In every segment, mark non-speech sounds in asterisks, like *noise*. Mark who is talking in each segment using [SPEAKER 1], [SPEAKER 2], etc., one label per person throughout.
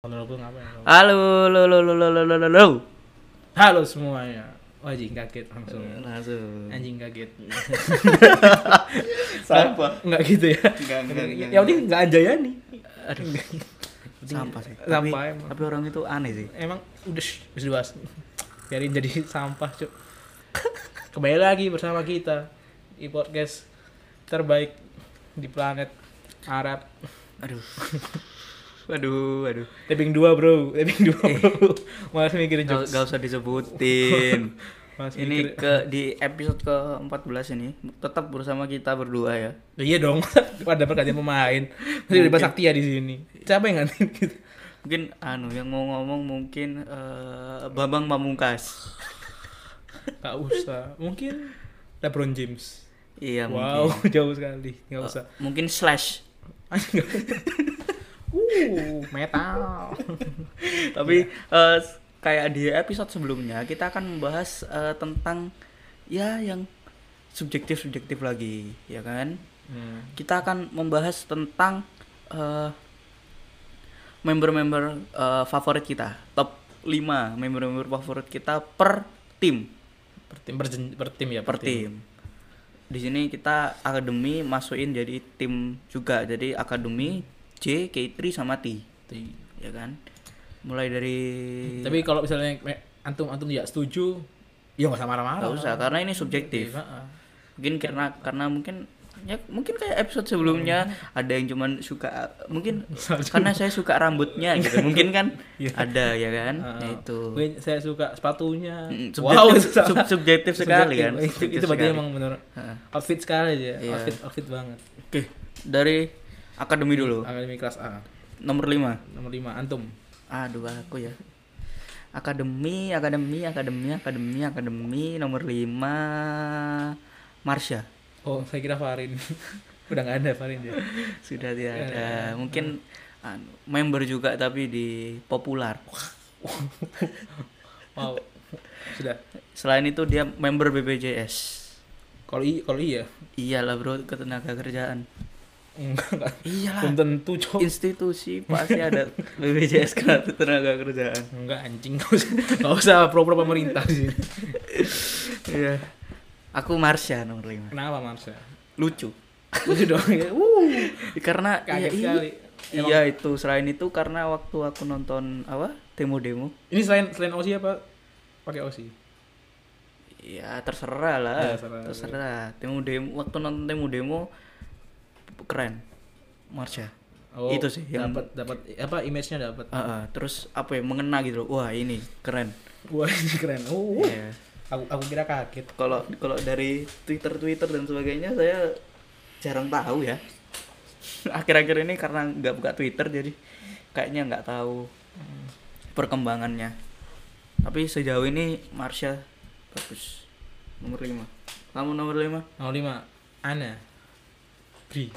[SPEAKER 1] Kalau gue ngapain?
[SPEAKER 2] Halo, lo lo lo lo lo lo lo lo.
[SPEAKER 1] Halo semuanya. Wah, anjing kaget langsung.
[SPEAKER 2] Langsung.
[SPEAKER 1] Anjing
[SPEAKER 2] *laughs*
[SPEAKER 1] kaget.
[SPEAKER 3] Sampah.
[SPEAKER 1] Enggak gitu ya.
[SPEAKER 3] Enggak, enggak, enggak.
[SPEAKER 1] Yang penting ya enggak anjayani.
[SPEAKER 2] Aduh. Sampah sih. Tapi,
[SPEAKER 1] Sampah emang.
[SPEAKER 2] tapi orang itu aneh sih.
[SPEAKER 1] Emang udah shh, harus dibahas. Biarin jadi sampah, Cuk. Kembali lagi bersama kita di podcast terbaik di planet Arab.
[SPEAKER 2] *laughs* Aduh. Aduh, aduh.
[SPEAKER 1] Taping 2, Bro. Taping 2, Bro.
[SPEAKER 2] Eh.
[SPEAKER 1] Malas mikirin jokes.
[SPEAKER 2] Gak, gak usah
[SPEAKER 1] *laughs*
[SPEAKER 2] disebutin.
[SPEAKER 1] Malas
[SPEAKER 2] ini
[SPEAKER 1] mikirin.
[SPEAKER 2] ke di episode ke-14 ini tetap bersama kita berdua ya.
[SPEAKER 1] Ya iya dong, *laughs* pada pergantian pemain. Masih ada Basakti ya di sini. Siapa yang ngantin *laughs* gitu?
[SPEAKER 2] Mungkin anu yang mau ngomong mungkin eh, Bambang Pamungkas.
[SPEAKER 1] Gak usah. Mungkin LeBron James.
[SPEAKER 2] Iya,
[SPEAKER 1] wow, *laughs*
[SPEAKER 2] mungkin.
[SPEAKER 1] jauh sekali. Gak
[SPEAKER 2] Eh,
[SPEAKER 1] usah.
[SPEAKER 2] mungkin slash.
[SPEAKER 1] Anjing, nggak usah. *laughs* uh, metal.
[SPEAKER 2] Tapi eh, kayak di episode sebelumnya kita akan membahas eh, tentang ya yang subjektif-subjektif lagi, ya kan?
[SPEAKER 1] *laughs* Hmm.
[SPEAKER 2] Kita akan membahas tentang eh, member-member eh, favorit kita, top 5 member-member favorit kita per tim,
[SPEAKER 1] Per tim, per, jen- per tim ya,
[SPEAKER 2] per tim. Di sini kita akademi masukin jadi tim juga. Jadi akademi J, K3 sama T,
[SPEAKER 1] Ti.
[SPEAKER 2] ya kan? Mulai dari
[SPEAKER 1] Tapi kalau misalnya me- antum antum tidak setuju, ya nggak usah marah-marah.
[SPEAKER 2] Gak usah karena ini subjektif. Mungkin karena karena mungkin ya mungkin kayak episode sebelumnya ada yang cuman suka mungkin karena saya suka rambutnya gitu. Mungkin kan ada ya kan.
[SPEAKER 1] Ah.
[SPEAKER 2] Nah, itu.
[SPEAKER 1] Gue saya suka sepatunya.
[SPEAKER 2] Mm,
[SPEAKER 1] Wow,
[SPEAKER 2] subjektif-
[SPEAKER 1] susah.
[SPEAKER 2] sub- subjektif sekali kan,
[SPEAKER 1] Itu- Itu,
[SPEAKER 2] subjektif
[SPEAKER 1] berarti
[SPEAKER 2] sekali.
[SPEAKER 1] emang benar
[SPEAKER 2] Heeh.
[SPEAKER 1] outfit sekali ya.
[SPEAKER 2] Iya.
[SPEAKER 1] Outfit outfit banget.
[SPEAKER 2] Ah. Oke, dari akademi dulu.
[SPEAKER 1] Akademi kelas A.
[SPEAKER 2] Nomor 5.
[SPEAKER 1] Nomor 5 antum.
[SPEAKER 2] Aduh aku ya. Akademi, akademi, akademi, akademi, akademi nomor 5 Marsha.
[SPEAKER 1] Oh, saya kira Farin. *laughs* Udah nggak ada Farin dia.
[SPEAKER 2] Sudah tidak ada. Mungkin anu, member juga tapi di popular.
[SPEAKER 1] Wow. Sudah.
[SPEAKER 2] Selain itu dia member BPJS.
[SPEAKER 1] Kalau i kalau iya
[SPEAKER 2] Iyalah bro, ketenaga kerjaan.
[SPEAKER 1] enggak enggak.
[SPEAKER 2] Iyalah.
[SPEAKER 1] Belum tentu, Cok.
[SPEAKER 2] Institusi pasti
[SPEAKER 1] *laughs*
[SPEAKER 2] ada BPJS ketenaga kerjaan.
[SPEAKER 1] Enggak anjing, enggak usah. Enggak usah pro-pro pemerintah sih.
[SPEAKER 2] Iya. Aku Marsha nomor 5
[SPEAKER 1] Kenapa Marsha?
[SPEAKER 2] Lucu.
[SPEAKER 1] Lucu dong ya. Uh,
[SPEAKER 2] Karena ya,
[SPEAKER 1] kaget
[SPEAKER 2] iya,
[SPEAKER 1] sekali. Emang-
[SPEAKER 2] Iya itu selain itu karena waktu aku nonton apa demo demo
[SPEAKER 1] Ini selain selain OSI apa? Pakai OSI.
[SPEAKER 2] ya terserah lah
[SPEAKER 1] Ya, terserah.
[SPEAKER 2] terserah demo demo waktu nonton demo demo keren Marsha
[SPEAKER 1] Oh,
[SPEAKER 2] Itu sih yang-
[SPEAKER 1] dapat dapat apa image-nya dapat.
[SPEAKER 2] Ah, ah, terus apa ya mengena gitu loh wah ini keren
[SPEAKER 1] Wah, ini keren. Uh,
[SPEAKER 2] Iya.
[SPEAKER 1] aku aku kira kaget.
[SPEAKER 2] kalau kalau dari Twitter Twitter dan sebagainya saya jarang tahu ya *laughs* akhir-akhir ini karena nggak buka Twitter jadi kayaknya nggak tahu perkembangannya tapi sejauh ini Marsha bagus nomor 5 kamu nomor 5
[SPEAKER 1] Nomor 5 Ana. Bri.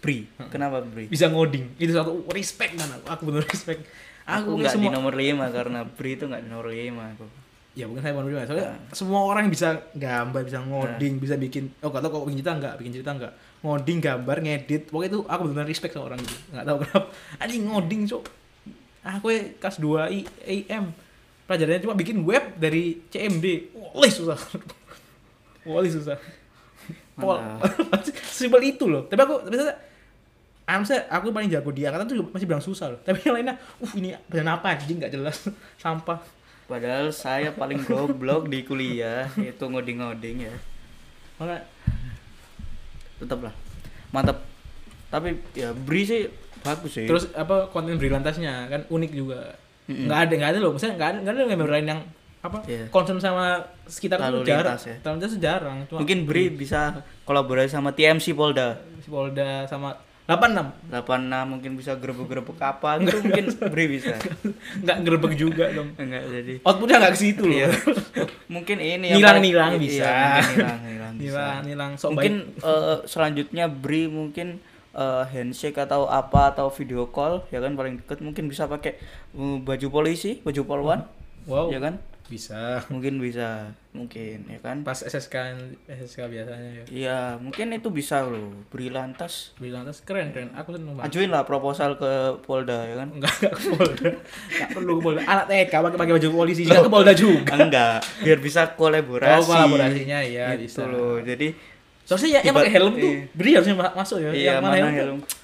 [SPEAKER 2] Bri kenapa Bri
[SPEAKER 1] Hmm. Bisa ngoding. Itu satu respect kan aku. Aku bener respect.
[SPEAKER 2] aku
[SPEAKER 1] Aku,
[SPEAKER 2] nggak di
[SPEAKER 1] semua
[SPEAKER 2] nomor 5 karena Bri itu nggak di nomor 5 aku
[SPEAKER 1] ya bukan saya penerima soalnya semua orang bisa gambar bisa ngoding bisa bikin oh gak tau kok bikin cerita enggak bikin cerita enggak ngoding gambar ngedit pokoknya itu aku benar respect sama orang itu nggak tahu kenapa *laughs* ini ngoding cok aku ya kelas 2 I, IM pelajarannya cuma bikin web dari CMD wali susah *laughs* wali susah Pol *laughs* simpel itu loh tapi aku tapi saya Amsa, aku paling jago di angkatan tuh masih bilang susah loh. Tapi yang lainnya, uh ini beneran apa anjing nggak jelas, *laughs* sampah.
[SPEAKER 2] padahal saya paling goblok di kuliah itu ngoding-ngoding ya
[SPEAKER 1] Makanya
[SPEAKER 2] tetaplah mantap tapi ya Bri sih bagus sih
[SPEAKER 1] Terus apa konten Brilantasnya kan unik juga.
[SPEAKER 2] Mm-mm.
[SPEAKER 1] Nggak ada nggak ada loh, maksudnya nggak ada nggak ada member lain yang apa
[SPEAKER 2] Iya.
[SPEAKER 1] concern sama sekitar
[SPEAKER 2] Lalu
[SPEAKER 1] itu jarang.
[SPEAKER 2] lintas ya.
[SPEAKER 1] Lalu lintas itu jarang. Cuma
[SPEAKER 2] Mungkin Bri bisa kolaborasi sama TMC Polda.
[SPEAKER 1] si Polda sama 86
[SPEAKER 2] 86 mungkin bisa gerebek-gerebek kapal itu mungkin Bri
[SPEAKER 1] *laughs*
[SPEAKER 2] bisa.
[SPEAKER 1] *laughs* nggak ngerebek juga dong.
[SPEAKER 2] Enggak jadi.
[SPEAKER 1] Outputnya nggak ke situ loh. *laughs*
[SPEAKER 2] Iya. Mungkin ini
[SPEAKER 1] Nilang-nilang
[SPEAKER 2] paling-
[SPEAKER 1] bisa.
[SPEAKER 2] Iya,
[SPEAKER 1] *laughs*
[SPEAKER 2] mungkin nilang-nilang bisa.
[SPEAKER 1] Nilang nilang sok
[SPEAKER 2] Mungkin
[SPEAKER 1] baik.
[SPEAKER 2] eh, selanjutnya Bri mungkin eh, handshake atau apa atau video call ya kan paling deket mungkin bisa pakai eh, baju polisi, baju polwan
[SPEAKER 1] Wow.
[SPEAKER 2] ya kan?
[SPEAKER 1] bisa
[SPEAKER 2] mungkin bisa mungkin ya kan
[SPEAKER 1] pas SSK SSK biasanya ya
[SPEAKER 2] iya mungkin itu bisa loh beri lantas
[SPEAKER 1] beli lantas keren keren aku seneng banget
[SPEAKER 2] ajuin lah proposal ke Polda ya
[SPEAKER 1] *laughs*
[SPEAKER 2] kan
[SPEAKER 1] enggak enggak ke Polda enggak perlu ke Polda
[SPEAKER 2] E
[SPEAKER 1] anak TK pakai pakai baju polisi juga ke Polda juga
[SPEAKER 2] enggak biar bisa kolaborasi
[SPEAKER 1] Oh, kolaborasinya, iya,
[SPEAKER 2] Gitu
[SPEAKER 1] bisa.
[SPEAKER 2] loh jadi
[SPEAKER 1] seharusnya ya yang pakai
[SPEAKER 2] Tiba-
[SPEAKER 1] helm tuh
[SPEAKER 2] iya.
[SPEAKER 1] beri harusnya ma- masuk ya
[SPEAKER 2] iya
[SPEAKER 1] yang Iya.
[SPEAKER 2] mana
[SPEAKER 1] mana
[SPEAKER 2] helm
[SPEAKER 1] helm tuh-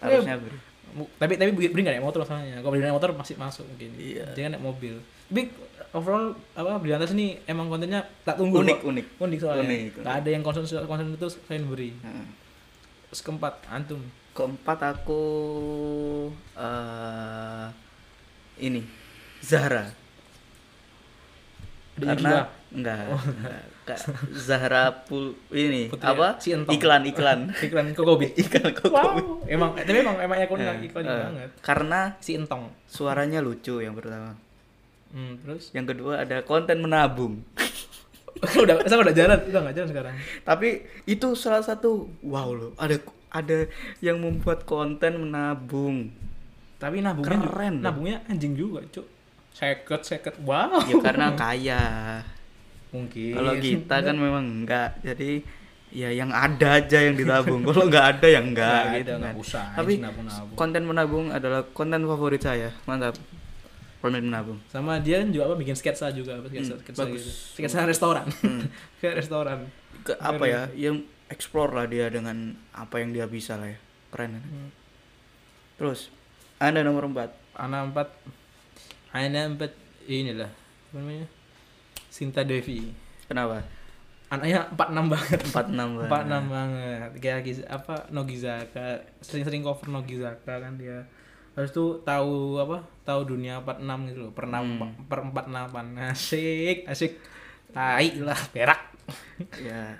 [SPEAKER 2] harusnya beri
[SPEAKER 1] Mu- tapi tapi beri nggak naik motor masalahnya kalau beri naik motor masih masuk mungkin
[SPEAKER 2] Iya.
[SPEAKER 1] dia kan naik mobil tapi overall apa beri lantas ini emang kontennya tak tunggu
[SPEAKER 2] unik
[SPEAKER 1] kok.
[SPEAKER 2] unik
[SPEAKER 1] unik soalnya
[SPEAKER 2] Unik,
[SPEAKER 1] nggak ada yang konsen konsen itu selain beri
[SPEAKER 2] Nah,
[SPEAKER 1] terus keempat antum
[SPEAKER 2] keempat aku eh ini Zahra
[SPEAKER 1] Ada
[SPEAKER 2] karena enggak, enggak. Kak Zahra pul ini
[SPEAKER 1] Oh. Putri
[SPEAKER 2] apa
[SPEAKER 1] ya? Si Entong.
[SPEAKER 2] iklan
[SPEAKER 1] *laughs*
[SPEAKER 2] iklan
[SPEAKER 1] iklan
[SPEAKER 2] *laughs*
[SPEAKER 1] kokobi
[SPEAKER 2] iklan kok
[SPEAKER 1] wow emang tapi emang emang ikonnya
[SPEAKER 2] Eh,
[SPEAKER 1] ikonik
[SPEAKER 2] eh,
[SPEAKER 1] banget
[SPEAKER 2] karena
[SPEAKER 1] si entong
[SPEAKER 2] suaranya lucu yang pertama
[SPEAKER 1] hmm, terus *laughs*
[SPEAKER 2] yang kedua ada konten menabung *laughs*
[SPEAKER 1] udah sama udah jalan udah nggak jalan sekarang
[SPEAKER 2] tapi itu salah satu wow loh ada ada yang membuat konten menabung
[SPEAKER 1] tapi nabungnya juga-
[SPEAKER 2] Keren, loh.
[SPEAKER 1] nabungnya anjing juga cuk seket seket wow
[SPEAKER 2] ya
[SPEAKER 1] *laughs*
[SPEAKER 2] karena kaya
[SPEAKER 1] mungkin
[SPEAKER 2] kalau kita kan memang enggak jadi ya yang ada aja yang
[SPEAKER 1] *laughs*
[SPEAKER 2] ditabung kalau enggak ada yang enggak
[SPEAKER 1] Nggak
[SPEAKER 2] gitu
[SPEAKER 1] ada, nggak
[SPEAKER 2] kan.
[SPEAKER 1] usah,
[SPEAKER 2] tapi
[SPEAKER 1] anjing nabung-nabung.
[SPEAKER 2] konten menabung adalah konten favorit saya mantap konten menabung
[SPEAKER 1] sama dia kan juga apa bikin sketsa juga apa, sketsa,
[SPEAKER 2] Hmm,
[SPEAKER 1] sketsa
[SPEAKER 2] bagus. Hmm.
[SPEAKER 1] gitu sketsa restoran *laughs* kayak restoran
[SPEAKER 2] Ke, apa ya yang explore lah dia dengan apa yang dia bisa lah ya keren kan?
[SPEAKER 1] Hmm.
[SPEAKER 2] terus anda nomor empat
[SPEAKER 1] anak empat anak empat inilah apa namanya Sinta Devi
[SPEAKER 2] kenapa
[SPEAKER 1] anaknya empat enam banget
[SPEAKER 2] empat enam Bang.
[SPEAKER 1] empat enam banget kayak Giz- apa Nogizaka sering-sering cover Nogizaka kan dia harus tuh tahu apa tahu dunia 46 gitu loh per enam
[SPEAKER 2] Hmm.
[SPEAKER 1] per 46 asik asik tai lah perak
[SPEAKER 2] ya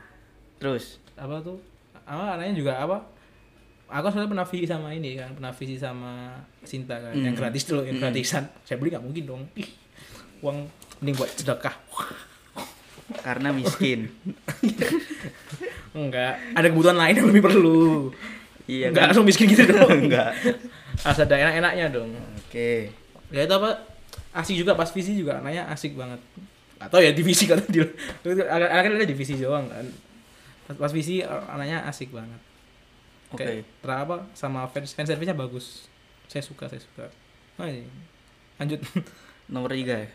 [SPEAKER 2] terus
[SPEAKER 1] apa tuh apa anaknya juga apa aku soalnya pernah visi sama ini kan pernah visi sama Sinta kan yang
[SPEAKER 2] Hmm.
[SPEAKER 1] gratis dulu yang gratisan saya beli nggak mungkin dong Ih, uang mending buat sedekah
[SPEAKER 2] karena
[SPEAKER 1] *laughs*
[SPEAKER 2] miskin
[SPEAKER 1] enggak ada kebutuhan lain yang lebih perlu
[SPEAKER 2] iya
[SPEAKER 1] enggak
[SPEAKER 2] kan?
[SPEAKER 1] langsung miskin
[SPEAKER 2] *laughs*
[SPEAKER 1] gitu dong
[SPEAKER 2] enggak
[SPEAKER 1] harus ada enak-enaknya dong
[SPEAKER 2] oke
[SPEAKER 1] ya itu apa asik juga pas visi juga anaknya asik banget atau ya divisi kan dia akhirnya ada divisi doang kan pas, pas visi anaknya asik banget
[SPEAKER 2] oke
[SPEAKER 1] Kayak tra- apa sama fans fan service-nya bagus. Saya suka, saya suka. Oh, ini. Lanjut. *laughs*
[SPEAKER 2] nomor tiga ya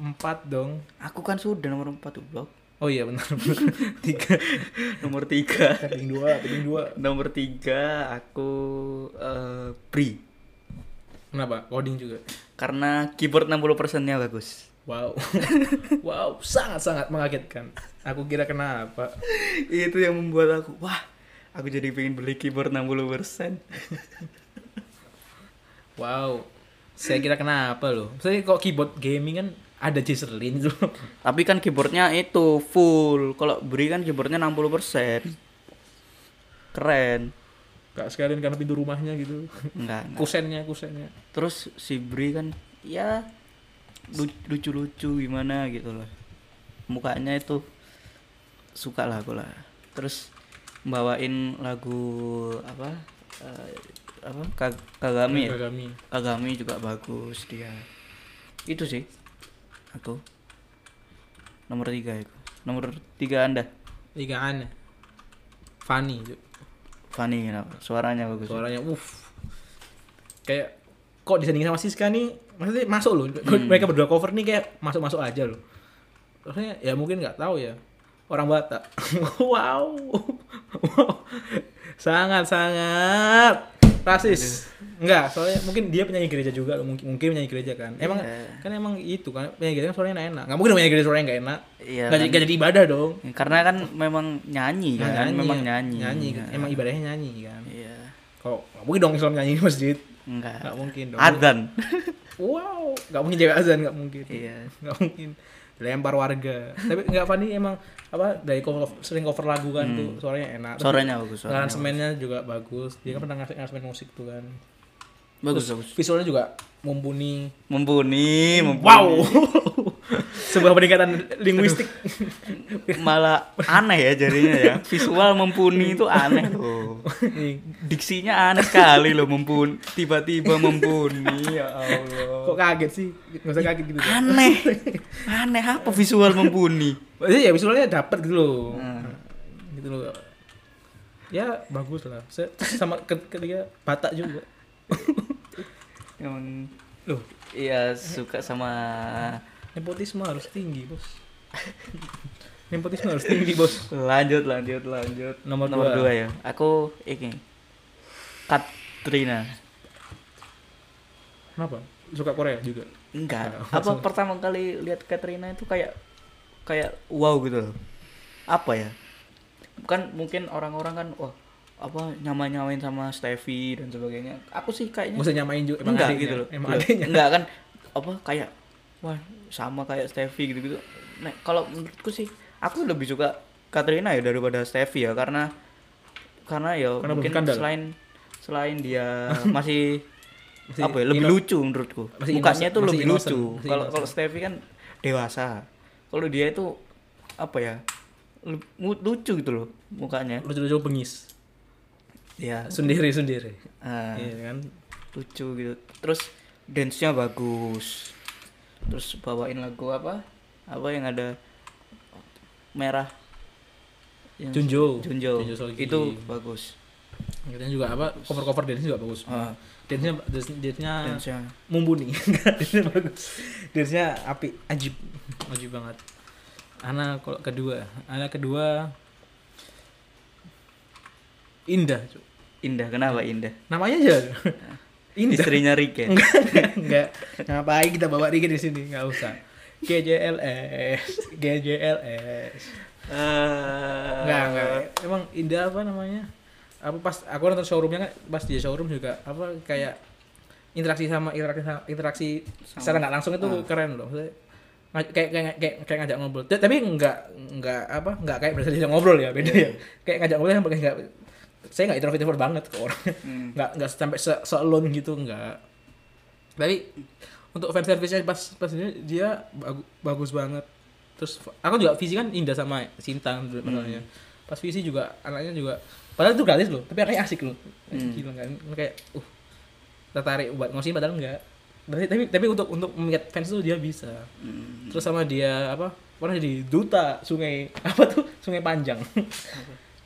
[SPEAKER 1] Empat dong.
[SPEAKER 2] aku kan sudah nomor empat tuh blog
[SPEAKER 1] Oh iya benar. *laughs* benar. Tiga.
[SPEAKER 2] nomor tiga *laughs*
[SPEAKER 1] Tebing dua, tebing dua.
[SPEAKER 2] nomor tiga aku eh Bri
[SPEAKER 1] Kenapa? Coding juga.
[SPEAKER 2] karena keyboard 60% nya bagus *laughs*
[SPEAKER 1] Wow. *laughs* wow, sangat-sangat mengagetkan. Aku kira kenapa.
[SPEAKER 2] itu yang membuat aku wah aku jadi pengen beli keyboard 60%
[SPEAKER 1] Wow. Saya kira kenapa loh. Saya kok keyboard gaming kan ada Jezerlin tuh.
[SPEAKER 2] *laughs* tapi kan keyboardnya itu full kalau Bri kan keyboardnya 60% keren
[SPEAKER 1] Kak sekalian karena pintu rumahnya gitu.
[SPEAKER 2] enggak enggak.
[SPEAKER 1] Kusennya, kusennya.
[SPEAKER 2] terus si Bri kan ya lu- lucu-lucu gimana gitu loh mukanya itu suka lah aku lah terus bawain lagu apa eh, apa Ka- Kagami ya?
[SPEAKER 1] Kagami.
[SPEAKER 2] Kagami juga bagus dia itu sih aku nomor tiga aku nomor tiga anda
[SPEAKER 1] Tiga aneh. Funny. Cuk.
[SPEAKER 2] Fanny kenapa? suaranya bagus
[SPEAKER 1] suaranya uff kayak kok disandingin sama Siska nih maksudnya masuk loh
[SPEAKER 2] Hmm.
[SPEAKER 1] mereka berdua cover nih kayak masuk masuk aja loh maksudnya ya mungkin nggak tahu ya orang Batak *laughs* wow wow sangat sangat rasis
[SPEAKER 2] Iya.
[SPEAKER 1] enggak soalnya mungkin dia penyanyi gereja juga loh mungkin mungkin penyanyi gereja kan emang
[SPEAKER 2] Iya.
[SPEAKER 1] kan emang itu kan penyanyi gereja kan suaranya enak enak nggak mungkin penyanyi gereja suaranya nggak enak
[SPEAKER 2] Iya,
[SPEAKER 1] nggak
[SPEAKER 2] kan.
[SPEAKER 1] jadi- nggak jadi ibadah dong
[SPEAKER 2] karena kan memang nyanyi kan memang nyanyi
[SPEAKER 1] nyanyi
[SPEAKER 2] Iya.
[SPEAKER 1] emang ibadahnya nyanyi kan
[SPEAKER 2] iya
[SPEAKER 1] kok nggak mungkin dong Islam nyanyi di masjid
[SPEAKER 2] enggak
[SPEAKER 1] Nggak mungkin dong.
[SPEAKER 2] Adzan.
[SPEAKER 1] Wow, nggak mungkin cewek azan nggak mungkin.
[SPEAKER 2] Iya.
[SPEAKER 1] Nggak mungkin. Lempar warga. Tapi nggak Fani emang apa dari cover, sering cover lagu kan tuh suaranya enak. Terus
[SPEAKER 2] Hmm. Suaranya bagus. Hmm. Suaranya
[SPEAKER 1] Aransemennya juga bagus. Dia kan pernah ngasih aransemen musik tuh kan.
[SPEAKER 2] bagus. bagus.
[SPEAKER 1] Visualnya juga mumpuni.
[SPEAKER 2] Membuni, membuni.
[SPEAKER 1] Wow. *laughs* sebuah peningkatan
[SPEAKER 2] *laughs*
[SPEAKER 1] linguistik
[SPEAKER 2] malah aneh ya jarinya *laughs* ya visual mempuni itu *laughs* aneh loh Iya. diksinya aneh sekali loh mempun tiba-tiba mempuni *laughs* ya Allah
[SPEAKER 1] kok kaget sih nggak usah kaget gitu Cok.
[SPEAKER 2] aneh aneh apa visual mempuni
[SPEAKER 1] Maksudnya ya visualnya dapat gitu loh
[SPEAKER 2] Hmm.
[SPEAKER 1] gitu loh ya bagus lah Se- sama ke- ketiga batak juga
[SPEAKER 2] emang
[SPEAKER 1] loh
[SPEAKER 2] iya suka sama
[SPEAKER 1] nepotisme harus tinggi bos nepotisme harus tinggi bos
[SPEAKER 2] lanjut lanjut lanjut
[SPEAKER 1] Nomor dua.
[SPEAKER 2] dua ya aku ini Katrina
[SPEAKER 1] kenapa suka Korea juga
[SPEAKER 2] Enggak.
[SPEAKER 1] Nah,
[SPEAKER 2] Apa
[SPEAKER 1] langsung.
[SPEAKER 2] pertama kali lihat Katrina itu kayak kayak wow gitu loh. Apa ya? Kan mungkin orang-orang kan wah apa nyama-nyamain sama Steffi dan sebagainya. Aku sih kayaknya
[SPEAKER 1] nggak usah nyamain juga emang
[SPEAKER 2] enggak
[SPEAKER 1] adiknya.
[SPEAKER 2] gitu loh.
[SPEAKER 1] emang
[SPEAKER 2] Loh,
[SPEAKER 1] adiknya
[SPEAKER 2] Enggak kan apa kayak wah sama kayak Steffi gitu-gitu. Nek kalau menurutku sih aku lebih suka Katrina ya daripada Steffi ya karena karena ya
[SPEAKER 1] Karena
[SPEAKER 2] mungkin
[SPEAKER 1] berskandal.
[SPEAKER 2] selain selain *laughs* dia masih
[SPEAKER 1] Masih
[SPEAKER 2] apa ya, lebih
[SPEAKER 1] ino-
[SPEAKER 2] lucu menurutku
[SPEAKER 1] masih
[SPEAKER 2] mukanya
[SPEAKER 1] innocent-
[SPEAKER 2] tuh
[SPEAKER 1] masih
[SPEAKER 2] lebih
[SPEAKER 1] innocent,
[SPEAKER 2] lucu
[SPEAKER 1] masih
[SPEAKER 2] kalau
[SPEAKER 1] innocent.
[SPEAKER 2] kalau Steffi kan dewasa kalau dia itu apa ya lu- mu- lucu gitu loh mukanya
[SPEAKER 1] lucu-lucu bengis
[SPEAKER 2] ya
[SPEAKER 1] sendiri sendiri
[SPEAKER 2] ah,
[SPEAKER 1] iya kan
[SPEAKER 2] lucu gitu terus dance nya bagus terus bawain lagu apa apa yang ada merah yang
[SPEAKER 1] Junjo
[SPEAKER 2] Junjo.
[SPEAKER 1] Solgi.
[SPEAKER 2] itu bagus
[SPEAKER 1] Katanya juga apa cover-cover dance juga bagus.
[SPEAKER 2] Ah,
[SPEAKER 1] Dance-nya dance- dance-nya
[SPEAKER 2] dance nya
[SPEAKER 1] mumpuni. *laughs* dance-nya bagus. Dance-nya api, ajib. Ajib banget. Ana kalau kedua, Ana kedua Indah, Cuk.
[SPEAKER 2] indah kenapa indah
[SPEAKER 1] Namanya aja. Iya. Indah.
[SPEAKER 2] istrinya Riken
[SPEAKER 1] Enggak, enggak. Ngapain kita bawa Riki di sini? Enggak usah. GJLS, GJLS.
[SPEAKER 2] Ah.
[SPEAKER 1] Enggak, enggak. Emang Indah apa namanya? Apa pas aku nonton showroomnya kan pas di showroom juga apa kayak interaksi sama interaksi sama- interaksi secara nggak langsung itu keren loh. Maksudnya, ngaj- kayak kayak kayak, kayak ngajak ngobrol. Ta- Tapi nggak nggak apa nggak kayak biasa diajak ngobrol ya beda ya. Kayak ngajak ngobrol yang pakai nggak saya nggak introvert introvert banget ke orangnya.
[SPEAKER 2] Hmm.
[SPEAKER 1] Nggak nggak sampai se, se alone gitu nggak. Tapi untuk fan service-nya pas pas ini dia bagu- bagus banget. Terus aku juga visi kan Indah sama Sinta dulu
[SPEAKER 2] Hmm.
[SPEAKER 1] masalahnya. Pas visi juga anaknya juga padahal itu gratis loh, tapi anaknya asik loh.
[SPEAKER 2] Hmm.
[SPEAKER 1] Gila kan kayak uh tertarik buat ngosin padahal enggak. Tapi tapi, tapi untuk untuk mengikat fans tuh dia bisa.
[SPEAKER 2] Hmm.
[SPEAKER 1] Terus sama dia apa? Pernah jadi duta sungai *laughs* apa tuh? Sungai Panjang.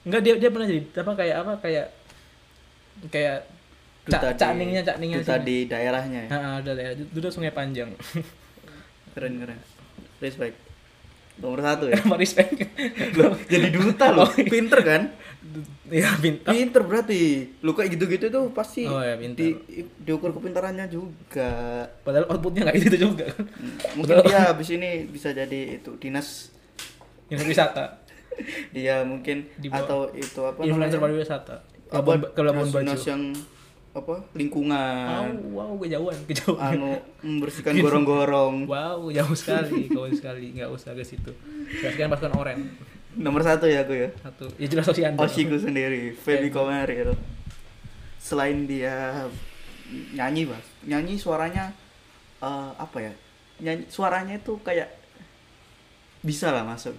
[SPEAKER 1] Enggak dia dia pernah jadi apa kayak apa kayak kayak cak
[SPEAKER 2] Duta di-
[SPEAKER 1] cakningnya cakningnya
[SPEAKER 2] duta
[SPEAKER 1] sungai.
[SPEAKER 2] di daerahnya ya
[SPEAKER 1] Ah, ah, udah ya, udah sungai panjang. *laughs*
[SPEAKER 2] keren keren respect nomor satu
[SPEAKER 1] *laughs*
[SPEAKER 2] ya
[SPEAKER 1] Sama respect.
[SPEAKER 2] loh jadi duta loh pinter kan
[SPEAKER 1] ya pintar.
[SPEAKER 2] *laughs* pinter berarti lu kayak gitu gitu tuh pasti
[SPEAKER 1] Oh, ya, pinter.
[SPEAKER 2] di- diukur kepintarannya
[SPEAKER 1] *laughs*
[SPEAKER 2] juga
[SPEAKER 1] Padahal outputnya nggak itu juga. kan.
[SPEAKER 2] mungkin dia habis ini bisa jadi itu dinas
[SPEAKER 1] Yang wisata,
[SPEAKER 2] dia mungkin
[SPEAKER 1] Di bawah-
[SPEAKER 2] atau itu apa
[SPEAKER 1] influencer
[SPEAKER 2] namanya
[SPEAKER 1] pariwisata.
[SPEAKER 2] apa
[SPEAKER 1] Kelabon ke Labuan Bajo.
[SPEAKER 2] dinas yang apa
[SPEAKER 1] Wow,
[SPEAKER 2] lingkungan
[SPEAKER 1] wow, kejauhan, kejauhan. *laughs*
[SPEAKER 2] anu membersihkan gorong-gorong
[SPEAKER 1] Wow, jauh sekali, jauh sekali, nggak usah ke situ. Sekarang pasukan oranye
[SPEAKER 2] nomor satu ya aku ya
[SPEAKER 1] satu. Ya jelas Osian.
[SPEAKER 2] Oshiku sendiri, Feby Komaril. Selain dia nyanyi, Bas. Nyanyi suaranya eh, apa ya? Nyanyi suaranya itu kayak bisa lah masuk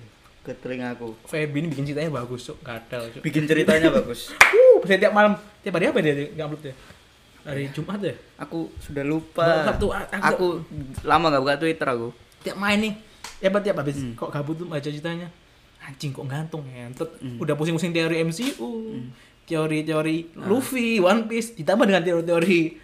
[SPEAKER 2] ke telingaku.
[SPEAKER 1] Feby ini bikin ceritanya bagus, cuk, gatel, cuk.
[SPEAKER 2] Bikin ceritanya bagus.
[SPEAKER 1] Uh, saya tiap malam, tiap hari apa dia nggak upload ya?
[SPEAKER 2] Iya.
[SPEAKER 1] Hari Jumat ya?
[SPEAKER 2] Aku sudah lupa.
[SPEAKER 1] Sabtu,
[SPEAKER 2] Aku,
[SPEAKER 1] aku-
[SPEAKER 2] lama gak buka Twitter aku.
[SPEAKER 1] tiap main nih ya apa tiap
[SPEAKER 2] Hmm.
[SPEAKER 1] habis kok gabut tuh baca ceritanya anjing kok gantung ngentot
[SPEAKER 2] Hmm.
[SPEAKER 1] udah pusing-pusing teori MCU teori-teori
[SPEAKER 2] Ah.
[SPEAKER 1] Luffy One Piece ditambah dengan teori-teori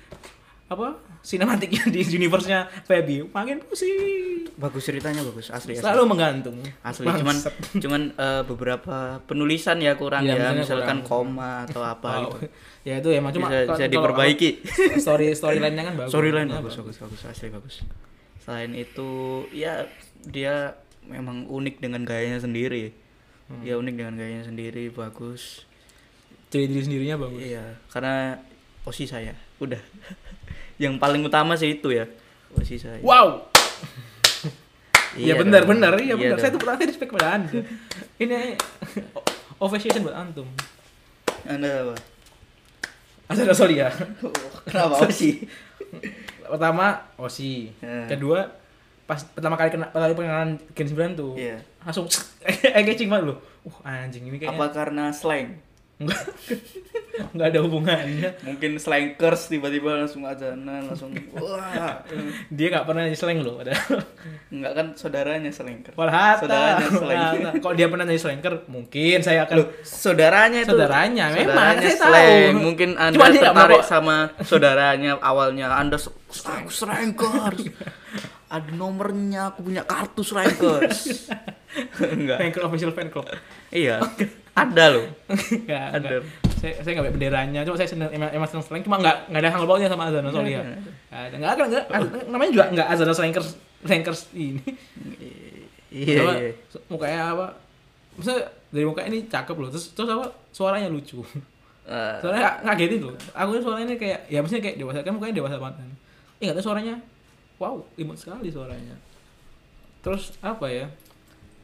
[SPEAKER 1] apa sinematiknya di universe-nya Feby makin pusing
[SPEAKER 2] Bagus ceritanya bagus asli. asli.
[SPEAKER 1] selalu menggantung
[SPEAKER 2] Iya, asli cuman
[SPEAKER 1] Bangsat.
[SPEAKER 2] cuman eh, beberapa penulisan ya kurang
[SPEAKER 1] Iya,
[SPEAKER 2] ya
[SPEAKER 1] misalnya
[SPEAKER 2] misalkan
[SPEAKER 1] kurang.
[SPEAKER 2] koma atau apa
[SPEAKER 1] Wow.
[SPEAKER 2] gitu.
[SPEAKER 1] ya itu emang cuma
[SPEAKER 2] Bisa-
[SPEAKER 1] kalau-
[SPEAKER 2] bisa
[SPEAKER 1] kalau-
[SPEAKER 2] diperbaiki.
[SPEAKER 1] kalau story storyline-nya kan bagus
[SPEAKER 2] Storyline
[SPEAKER 1] Ya,
[SPEAKER 2] bagus, bagus, bagus, asli bagus. Selain itu, ya dia memang unik dengan gayanya sendiri.
[SPEAKER 1] Hmm.
[SPEAKER 2] Dia unik dengan gayanya sendiri, bagus.
[SPEAKER 1] jadi diri sendirinya bagus
[SPEAKER 2] Iya, karena osi saya, udah. *laughs* Yang paling utama sih itu ya, osi saya.
[SPEAKER 1] wow Iya
[SPEAKER 2] Iya
[SPEAKER 1] benar
[SPEAKER 2] dong.
[SPEAKER 1] benar iya
[SPEAKER 2] Iya
[SPEAKER 1] benar. Saya
[SPEAKER 2] dong.
[SPEAKER 1] tuh pernah saya respect pada Anda. Ini *laughs* ovation buat antum.
[SPEAKER 2] Anda apa? *laughs*
[SPEAKER 1] Ada ada sorry ya.
[SPEAKER 2] Kenapa osi?
[SPEAKER 1] Pertama Osi.
[SPEAKER 2] Eh.
[SPEAKER 1] Kedua pas pas pertama kali kena pertama kali pengenalan Gen 9 tuh
[SPEAKER 2] Iya.
[SPEAKER 1] langsung *laughs* kayak catching banget loh wah anjing ini
[SPEAKER 2] Apa
[SPEAKER 1] kayaknya
[SPEAKER 2] karena slang?
[SPEAKER 1] enggak enggak ada hubungannya
[SPEAKER 2] Mungkin slang curse tiba-tiba langsung ajanan langsung *laughs* wah.
[SPEAKER 1] dia nggak pernah nyanyi slang loh ada *laughs*
[SPEAKER 2] Enggak kan saudaranya slang curse.
[SPEAKER 1] walhata
[SPEAKER 2] Saudaranya slang.
[SPEAKER 1] walhata. kalau dia pernah nyanyi slangker mungkin saya akan
[SPEAKER 2] Loh, saudaranya itu
[SPEAKER 1] saudaranya memang
[SPEAKER 2] saudaranya
[SPEAKER 1] saya
[SPEAKER 2] slang.
[SPEAKER 1] tahu
[SPEAKER 2] mungkin anda
[SPEAKER 1] Cuma dia nggak mau
[SPEAKER 2] tertarik
[SPEAKER 1] kok.
[SPEAKER 2] sama saudaranya awalnya anda s- aku strikers ada nomornya aku punya
[SPEAKER 1] *laughs*
[SPEAKER 2] kartu strikers enggak
[SPEAKER 1] fan club official fan *laughs* club
[SPEAKER 2] iya ada loh
[SPEAKER 1] Enggak, enggak.
[SPEAKER 2] Ada.
[SPEAKER 1] Saya saya enggak pakai benderanya, cuma saya seneng emang, emang seneng slang, cuma enggak enggak ada hang bautnya sama Azana soalnya.
[SPEAKER 2] Iya,
[SPEAKER 1] Ada enggak ada
[SPEAKER 2] Ah.
[SPEAKER 1] enggak Az- namanya juga enggak Azana slankers slankers ini.
[SPEAKER 2] *laughs* iya
[SPEAKER 1] Cuma
[SPEAKER 2] iya.
[SPEAKER 1] se- Mukanya apa? Maksudnya dari mukanya ini cakep loh. Terus terus apa? Suaranya
[SPEAKER 2] *laughs*
[SPEAKER 1] lucu.
[SPEAKER 2] Eh,
[SPEAKER 1] Suaranya ng- ngagetin loh. Aku ini suaranya kayak ya maksudnya kayak dewasa kan mukanya dewasa banget. Eh enggak tahu suaranya. Wow, imut sekali suaranya. Terus apa ya?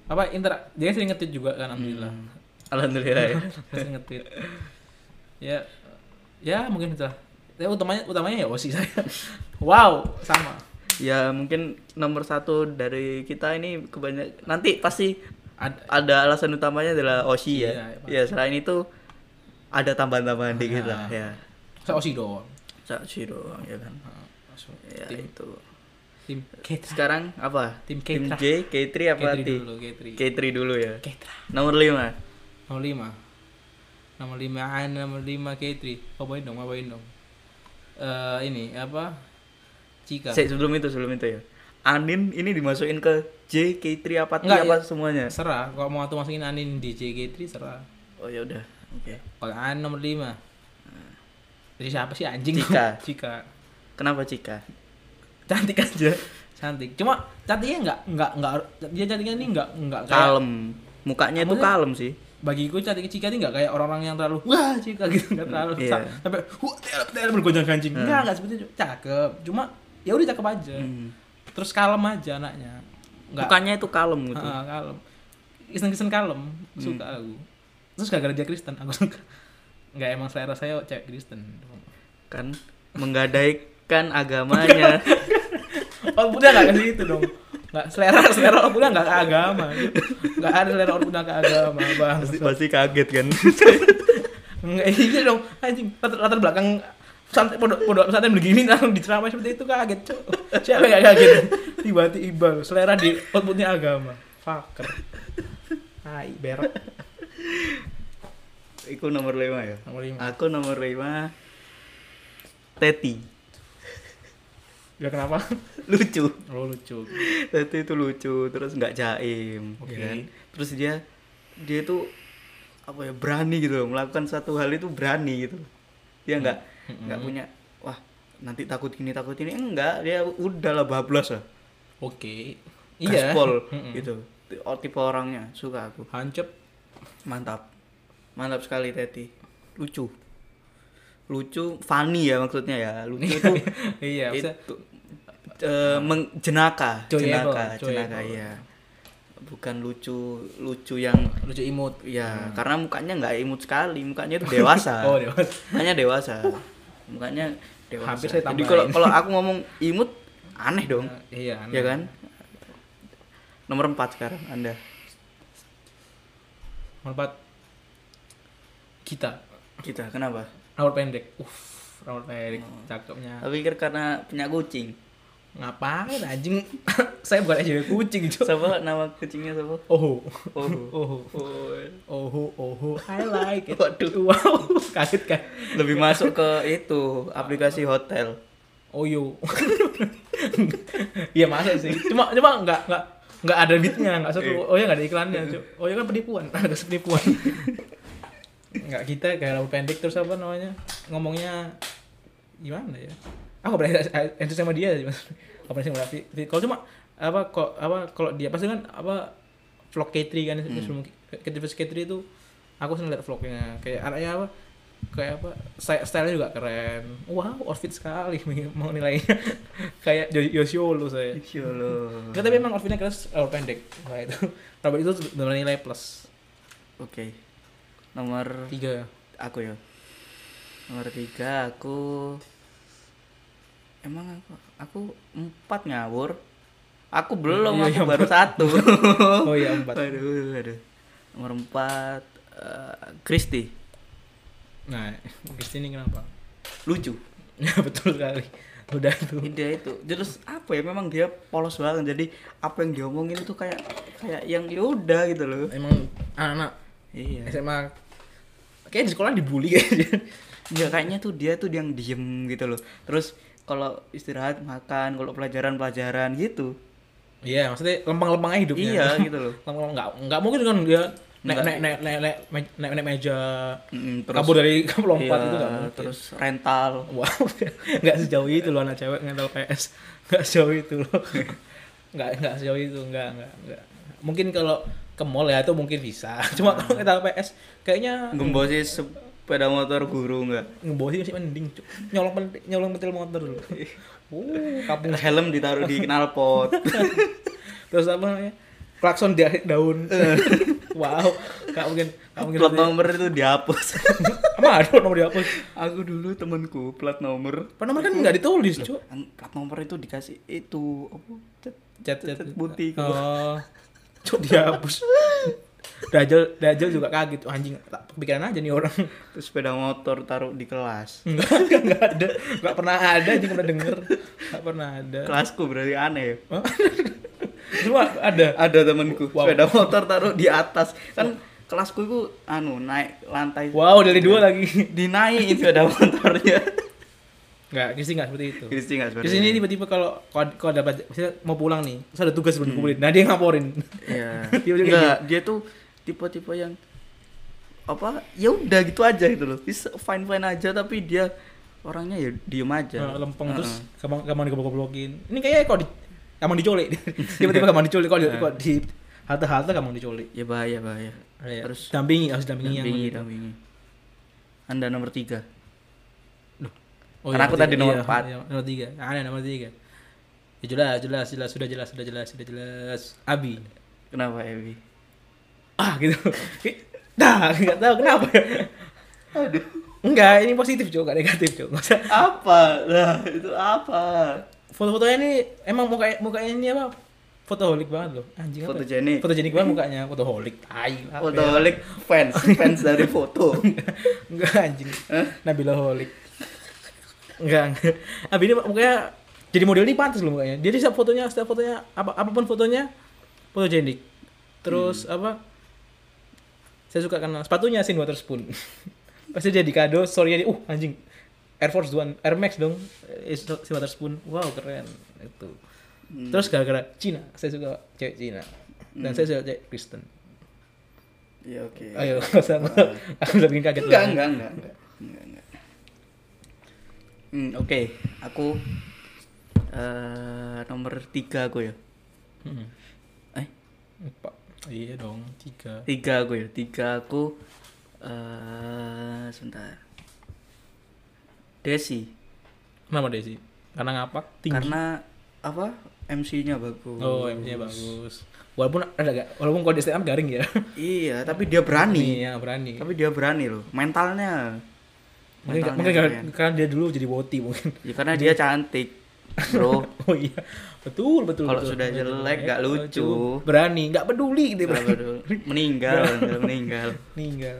[SPEAKER 1] Apa intera dia sering ngetit juga kan alhamdulillah.
[SPEAKER 2] alhamdulillah ya
[SPEAKER 1] Saya nge-tweet. Ya, ya mungkin itulah. Ya, utamanya utamanya ya Osi saya. Wow, sama.
[SPEAKER 2] ya mungkin nomor satu dari kita ini kebanyak nanti pasti
[SPEAKER 1] Ad-
[SPEAKER 2] ada alasan utamanya adalah Oshi
[SPEAKER 1] Iya,
[SPEAKER 2] ya.
[SPEAKER 1] iya,
[SPEAKER 2] Ya, selain itu ada tambahan-tambahan dikit
[SPEAKER 1] Nah.
[SPEAKER 2] lah ya.
[SPEAKER 1] saya Osi doang.
[SPEAKER 2] Sachi doang ya kan.
[SPEAKER 1] Nah, langsung.
[SPEAKER 2] Ya
[SPEAKER 1] tim
[SPEAKER 2] itu.
[SPEAKER 1] tim Ketra.
[SPEAKER 2] Sekarang apa?
[SPEAKER 1] Tim
[SPEAKER 2] Tim
[SPEAKER 1] Ketra.
[SPEAKER 2] J, K3 apa
[SPEAKER 1] Ketri
[SPEAKER 2] T?
[SPEAKER 1] dulu, Ketri.
[SPEAKER 2] K3 dulu ya.
[SPEAKER 1] Ketra.
[SPEAKER 2] Nomor 5.
[SPEAKER 1] Nomor lima. Nomor lima, ah, nomor lima Ketri. Apain dong, apain dong. Eh ini apa? Cika.
[SPEAKER 2] sebelum itu, sebelum itu ya. Anin ini dimasukin ke J, K3 apa T
[SPEAKER 1] Enggak, ya.
[SPEAKER 2] apa semuanya?
[SPEAKER 1] Serah, kalau mau tuh masukin Anin di JG3 serah.
[SPEAKER 2] Oh ya udah. Oke.
[SPEAKER 1] Kalau Anin nomor lima. Jadi siapa sih anjing?
[SPEAKER 2] Cika.
[SPEAKER 1] Hmm. *laughs* Cika.
[SPEAKER 2] Kenapa Cika?
[SPEAKER 1] cantik aja cantik cuma cantiknya nggak nggak nggak dia cantiknya ini nggak nggak kayak
[SPEAKER 2] Kalem. Mukanya itu
[SPEAKER 1] Maksudnya-
[SPEAKER 2] kalem sih.
[SPEAKER 1] bagiku cantik Cika ini nggak kayak orang-orang yang terlalu wah Cika gitu nggak terlalu
[SPEAKER 2] Iya.
[SPEAKER 1] sa- sampai wah terlalu terlalu bergonjang ganjing nggak nggak seperti itu cakep cuma ya udah cakep aja
[SPEAKER 2] Hmm.
[SPEAKER 1] terus kalem aja anaknya nggak
[SPEAKER 2] Mukanya itu kalem gitu.
[SPEAKER 1] Ah, kalem iseng-iseng kalem
[SPEAKER 2] Hmm.
[SPEAKER 1] suka aku terus gara-gara dia Kristen aku suka nggak emang selera saya cewek Kristen
[SPEAKER 2] Kan
[SPEAKER 1] *laughs*
[SPEAKER 2] menggadaikan agamanya.
[SPEAKER 1] Orang Oh, Buddha nggak kasih itu dong. Nggak selera selera orang Buddha nggak ke agama. Nggak ada selera orang Buddha ke agama bang.
[SPEAKER 2] pasti, pasti kaget *laughs* kan
[SPEAKER 1] Nggak iya dong anjing latar, latar belakang santai pondok pondok pesantren begini langsung diceramai seperti itu kaget cok. Siapa yang nggak kaget? Tiba-tiba loh, selera di outputnya agama. Fucker. Hai berak
[SPEAKER 2] aku nomor lima ya
[SPEAKER 1] nomor lima.
[SPEAKER 2] aku nomor lima Teti
[SPEAKER 1] Ya kenapa?
[SPEAKER 2] lucu
[SPEAKER 1] Lo lucu.
[SPEAKER 2] *laughs* Teti itu lucu terus nggak jaim ya
[SPEAKER 1] Oke.
[SPEAKER 2] kan? terus dia dia itu apa ya berani gitu loh melakukan satu hal itu berani gitu loh. dia nggak nggak punya wah nanti takut gini takut ini enggak dia udahlah bablas lah
[SPEAKER 1] Oke. Iya.
[SPEAKER 2] gaspol
[SPEAKER 1] Mm-mm.
[SPEAKER 2] gitu Oh, tipe orangnya suka aku
[SPEAKER 1] Hancep.
[SPEAKER 2] Mantap. Mantap sekali Teti. Lucu. Lucu, funny ya maksudnya ya. Lucu itu
[SPEAKER 1] *laughs* Iya. maksudnya-
[SPEAKER 2] itu eh, meng- jenaka,
[SPEAKER 1] Enjoyable,
[SPEAKER 2] jenaka, jenaka
[SPEAKER 1] enjoyable.
[SPEAKER 2] iya. Bukan lucu lucu yang
[SPEAKER 1] Lucu imut.
[SPEAKER 2] ya karena mukanya nggak imut sekali, mukanya itu dewasa.
[SPEAKER 1] Hmm. *laughs* Oh dewasa.
[SPEAKER 2] Mukanya dewasa. Mukanya dewasa.
[SPEAKER 1] Hampir saya tambahin.
[SPEAKER 2] Jadi kalau kalau aku ngomong imut aneh dong.
[SPEAKER 1] Iya.
[SPEAKER 2] Ya kan? Nomor 4 sekarang Anda.
[SPEAKER 1] Nomor empat kita
[SPEAKER 2] Kita kenapa?
[SPEAKER 1] rambut pendek. Uff, rambut pendek cakepnya.
[SPEAKER 2] Aku pikir karena punya kucing.
[SPEAKER 1] Ngapain anjing? *laughs* Saya bukan SJW kucing, Cok.
[SPEAKER 2] Siapa nama kucingnya siapa?
[SPEAKER 1] Oh.
[SPEAKER 2] Oh.
[SPEAKER 1] Oh.
[SPEAKER 2] Oh.
[SPEAKER 1] Oh, oh, I like it.
[SPEAKER 2] Waduh.
[SPEAKER 1] Wow, kaget kan?
[SPEAKER 2] *laughs* Lebih masuk ke itu aplikasi hotel.
[SPEAKER 1] Oyo. Oh, *laughs* Iya masuk sih. Cuma cuma enggak enggak enggak ada beatnya, enggak satu.
[SPEAKER 2] Iya.
[SPEAKER 1] Oh ya enggak ada iklannya, Cuk. Oh ya kan penipuan, *laughs* ada penipuan. Enggak kita kayak rambut pendek terus apa namanya? Ngomongnya gimana ya? Aku berani *laughs* entus sama dia sih, Mas. Apa sih berarti? Kalau cuma apa kok apa kalau dia pasti kan apa vlog K3 kan sebelum K3 versus K3 itu aku sering lihat vlognya kayak anaknya apa kayak apa sty- stylenya juga keren wow outfit sekali *laughs* mau nilainya kayak Yo- Yoshiolo saya
[SPEAKER 2] Insyaallah.
[SPEAKER 1] Nggak, tapi memang outfitnya keren rambut pendek nah itu *laughs* rambut itu benar nilai plus
[SPEAKER 2] Oke. Nomor
[SPEAKER 1] tiga
[SPEAKER 2] aku ya. Nomor tiga aku Emang aku aku empat ngawur. Aku belum,
[SPEAKER 1] Iya, iya,
[SPEAKER 2] aku baru satu.
[SPEAKER 1] Oh *laughs* iya, empat.
[SPEAKER 2] Aduh, aduh. Nomor empat, eh, Christy.
[SPEAKER 1] Nah, Christine ini kenapa? *laughs*
[SPEAKER 2] Lucu.
[SPEAKER 1] Ya betul sekali. Udah itu.
[SPEAKER 2] *laughs* Dia itu. Terus apa ya, memang dia polos banget. Jadi apa yang diomongin itu kayak kayak yang yaudah gitu loh.
[SPEAKER 1] Emang anak-anak
[SPEAKER 2] Iya.
[SPEAKER 1] SMA kayak di sekolah dibully kayaknya. *laughs*
[SPEAKER 2] Ya kayaknya tuh dia tuh yang diem gitu loh. Terus kalau istirahat makan, kalau pelajaran-pelajaran gitu.
[SPEAKER 1] Iya, maksudnya lempeng-lempeng aja hidupnya. *laughs*
[SPEAKER 2] Iya, gitu loh.
[SPEAKER 1] Lempeng-lempeng enggak enggak mungkin kan dia naik
[SPEAKER 2] Nggak.
[SPEAKER 1] naik naik naik naik me- naik, naik meja
[SPEAKER 2] Mm, terus-
[SPEAKER 1] kabur dari *laughs* kamu lompat
[SPEAKER 2] Iya,
[SPEAKER 1] itu enggak mungkin.
[SPEAKER 2] Terus rental.
[SPEAKER 1] Wow, *laughs* nggak sejauh itu loh anak cewek ngental PS, nggak sejauh itu loh, nggak nggak sejauh itu, nggak nggak nggak. Mungkin kalau ke mall ya itu mungkin bisa, *laughs* cuma kalau ngental PS kayaknya
[SPEAKER 2] Ngembosi sepeda motor guru enggak?
[SPEAKER 1] ngebosin sih mending Cuk. nyolong pentil, nyolong pentil motor dulu. Uh, kampung.
[SPEAKER 2] Helm ditaruh di knalpot.
[SPEAKER 1] Terus apa namanya? Klakson di daun. wow, nggak mungkin, nggak mungkin.
[SPEAKER 2] plat nomor itu dihapus. *laughs*
[SPEAKER 1] Emang ada nomor dihapus?
[SPEAKER 2] Aku dulu temanku plat nomor.
[SPEAKER 1] Plat nomor kan nggak ditulis, cuk.
[SPEAKER 2] Ang- Kan Plat nomor itu dikasih itu apa? Cet,
[SPEAKER 1] Cat cat
[SPEAKER 2] Cat putih. gitu.
[SPEAKER 1] Oh. *laughs* Cuk dihapus. Dajal Dajal juga kaget "Wah, anjing tak kepikiran aja nih orang. *laughs*
[SPEAKER 2] Terus sepeda motor taruh di kelas.
[SPEAKER 1] Enggak, enggak ada. Enggak pernah ada anjing pernah denger. Enggak pernah ada.
[SPEAKER 2] Kelasku berarti aneh. ya.
[SPEAKER 1] Hah? *laughs* Cuma ada.
[SPEAKER 2] Ada temanku
[SPEAKER 1] Wow.
[SPEAKER 2] sepeda motor taruh di atas. Kan kelasku itu anu naik lantai.
[SPEAKER 1] Wow, dari
[SPEAKER 2] Iya.
[SPEAKER 1] dua lagi.
[SPEAKER 2] Dinaikin sepeda
[SPEAKER 1] *laughs*
[SPEAKER 2] motornya.
[SPEAKER 1] Enggak, Kristi enggak seperti itu.
[SPEAKER 2] Kristi nggak ya? seperti
[SPEAKER 1] Kristi ini
[SPEAKER 2] itu.
[SPEAKER 1] tiba-tiba kalau kalau kalau ada pelajar- misalnya mau pulang nih, terus ada tugas
[SPEAKER 2] Hmm.
[SPEAKER 1] belum dikumpulin. Nah, dia ngaporin.
[SPEAKER 2] Iya.
[SPEAKER 1] *laughs* Dia juga gitu.
[SPEAKER 2] Enggak, dia tuh tipe-tipe yang apa? Ya udah gitu aja gitu loh. He's fine fine aja tapi dia orangnya ya diem aja.
[SPEAKER 1] Nah, lempeng
[SPEAKER 2] Heeh.
[SPEAKER 1] terus gampang gampang digoblok-goblokin. Ini kayaknya kok di gampang diculik. *laughs* Tiba-tiba gampang diculik kok di, kok di halte-halte gampang diculik.
[SPEAKER 2] ya bahaya bahaya.
[SPEAKER 1] Ya,
[SPEAKER 2] Harus
[SPEAKER 1] harus dampingi, harus dampingi, yang
[SPEAKER 2] dampingi dampingi. Anda nomor tiga.
[SPEAKER 1] Oh,
[SPEAKER 2] Karena aku tadi nomor
[SPEAKER 1] iya,
[SPEAKER 2] empat.
[SPEAKER 1] iya, nomor tiga. Ah, ada nomor tiga. Ya jelas, jelas, jelas, sudah jelas, sudah jelas, sudah jelas. Abi.
[SPEAKER 2] Kenapa Evi?
[SPEAKER 1] Ah, gitu. *laughs* Dah, enggak tahu kenapa. ya.
[SPEAKER 2] Aduh.
[SPEAKER 1] Enggak, ini positif, Cok, enggak negatif, Cok. Nggak usah.
[SPEAKER 2] Apa? Lah, itu apa?
[SPEAKER 1] Foto-fotonya ini emang muka mukanya ini apa? Fotoholik banget loh. Anjing apa?
[SPEAKER 2] Fotogenik.
[SPEAKER 1] Fotogenik banget mukanya, fotoholik. Tai. apa ya?
[SPEAKER 2] Fotoholik fans, fans dari foto.
[SPEAKER 1] Enggak anjing. Nabila holik. Enggak, enggak. Abi ini mukanya jadi model ini pantas loh mukanya. Dia di setiap fotonya, setiap fotonya apa apapun fotonya fotogenik. Terus
[SPEAKER 2] Hmm.
[SPEAKER 1] apa? Saya suka karena sepatunya Sin Water Spoon. *laughs* Pasti jadi kado, sorry jadi uh anjing. Air Force One, Air Max dong. Eh, Sin Water Spoon. Wow, keren itu.
[SPEAKER 2] Hmm.
[SPEAKER 1] Terus gara-gara Cina, saya suka cewek Cina.
[SPEAKER 2] Hmm.
[SPEAKER 1] Dan saya suka cewek Kristen.
[SPEAKER 2] Ya oke.
[SPEAKER 1] Ayo, *laughs* sama. Aku udah bikin kaget.
[SPEAKER 2] Enggak,
[SPEAKER 1] loh.
[SPEAKER 2] enggak, enggak, enggak. Enggak, enggak. Hmm, oke. Aku eh nomor tiga aku ya.
[SPEAKER 1] Mm-mm.
[SPEAKER 2] Eh,
[SPEAKER 1] Empat. Iya dong, tiga.
[SPEAKER 2] tiga aku ya. Tiga aku eh sebentar. Desi.
[SPEAKER 1] Kenapa Desi? Karena ngapak tinggi.
[SPEAKER 2] Karena apa? MC-nya bagus.
[SPEAKER 1] Oh, MC-nya bagus. Walaupun ada gak, walaupun kalau di stand up garing ya.
[SPEAKER 2] Iya, tapi dia berani.
[SPEAKER 1] Iya, berani.
[SPEAKER 2] Tapi dia berani loh. Mentalnya.
[SPEAKER 1] Mungkin,
[SPEAKER 2] Mentalnya
[SPEAKER 1] mungkin karena,
[SPEAKER 2] keren.
[SPEAKER 1] karena dia dulu jadi woti mungkin. *laughs*
[SPEAKER 2] Ya, karena dia cantik. Bro,
[SPEAKER 1] Oh iya, betul betul.
[SPEAKER 2] Kalau
[SPEAKER 1] betul. Eh,
[SPEAKER 2] sudah jelek, nggak lucu.
[SPEAKER 1] Berani, nggak peduli gitu.
[SPEAKER 2] Nggak
[SPEAKER 1] berani.
[SPEAKER 2] peduli. meninggal, meninggal.
[SPEAKER 1] Ninggal.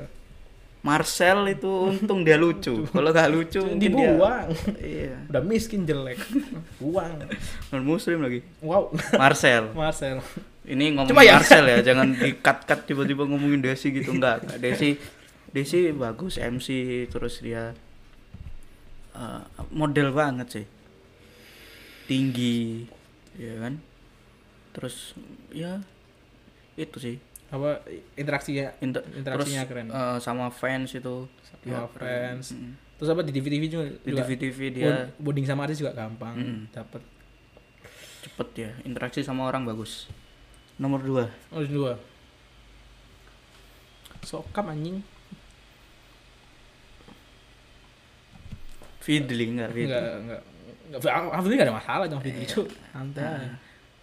[SPEAKER 2] Marcel itu untung dia lucu. Kalau nggak lucu mungkin dia
[SPEAKER 1] Dibuang.
[SPEAKER 2] Iya.
[SPEAKER 1] Udah miskin
[SPEAKER 2] *laughs*
[SPEAKER 1] jelek. Buang.
[SPEAKER 2] Non muslim lagi.
[SPEAKER 1] Wow. *laughs*
[SPEAKER 2] Marcel.
[SPEAKER 1] Marcel.
[SPEAKER 2] Ini ngomong
[SPEAKER 1] Cuma ya-
[SPEAKER 2] Marcel ya, jangan di-cut-cut tiba-tiba ngomongin Desi gitu enggak. Desi Desi bagus MC terus dia eh, model banget sih. Tinggi, ya kan? Terus ya itu sih.
[SPEAKER 1] Apa interaksinya?
[SPEAKER 2] Inter-
[SPEAKER 1] Interaksinya keren.
[SPEAKER 2] terus, eh, sama fans itu.
[SPEAKER 1] Sama
[SPEAKER 2] dia
[SPEAKER 1] fans. Oh.
[SPEAKER 2] Mm.
[SPEAKER 1] Terus apa di TV TV juga?
[SPEAKER 2] Di
[SPEAKER 1] juga
[SPEAKER 2] TV dia
[SPEAKER 1] bond- bonding sama artis juga gampang.
[SPEAKER 2] Mm.
[SPEAKER 1] Dapat.
[SPEAKER 2] cepet ya interaksi sama orang bagus nomor dua
[SPEAKER 1] Oh dua. Sokam anjing.
[SPEAKER 2] Fidli enggak Fidli
[SPEAKER 1] Enggak, enggak. Enggak, Fidli enggak ada masalah sama Fidli, cuk. Santai. Iya. Iya.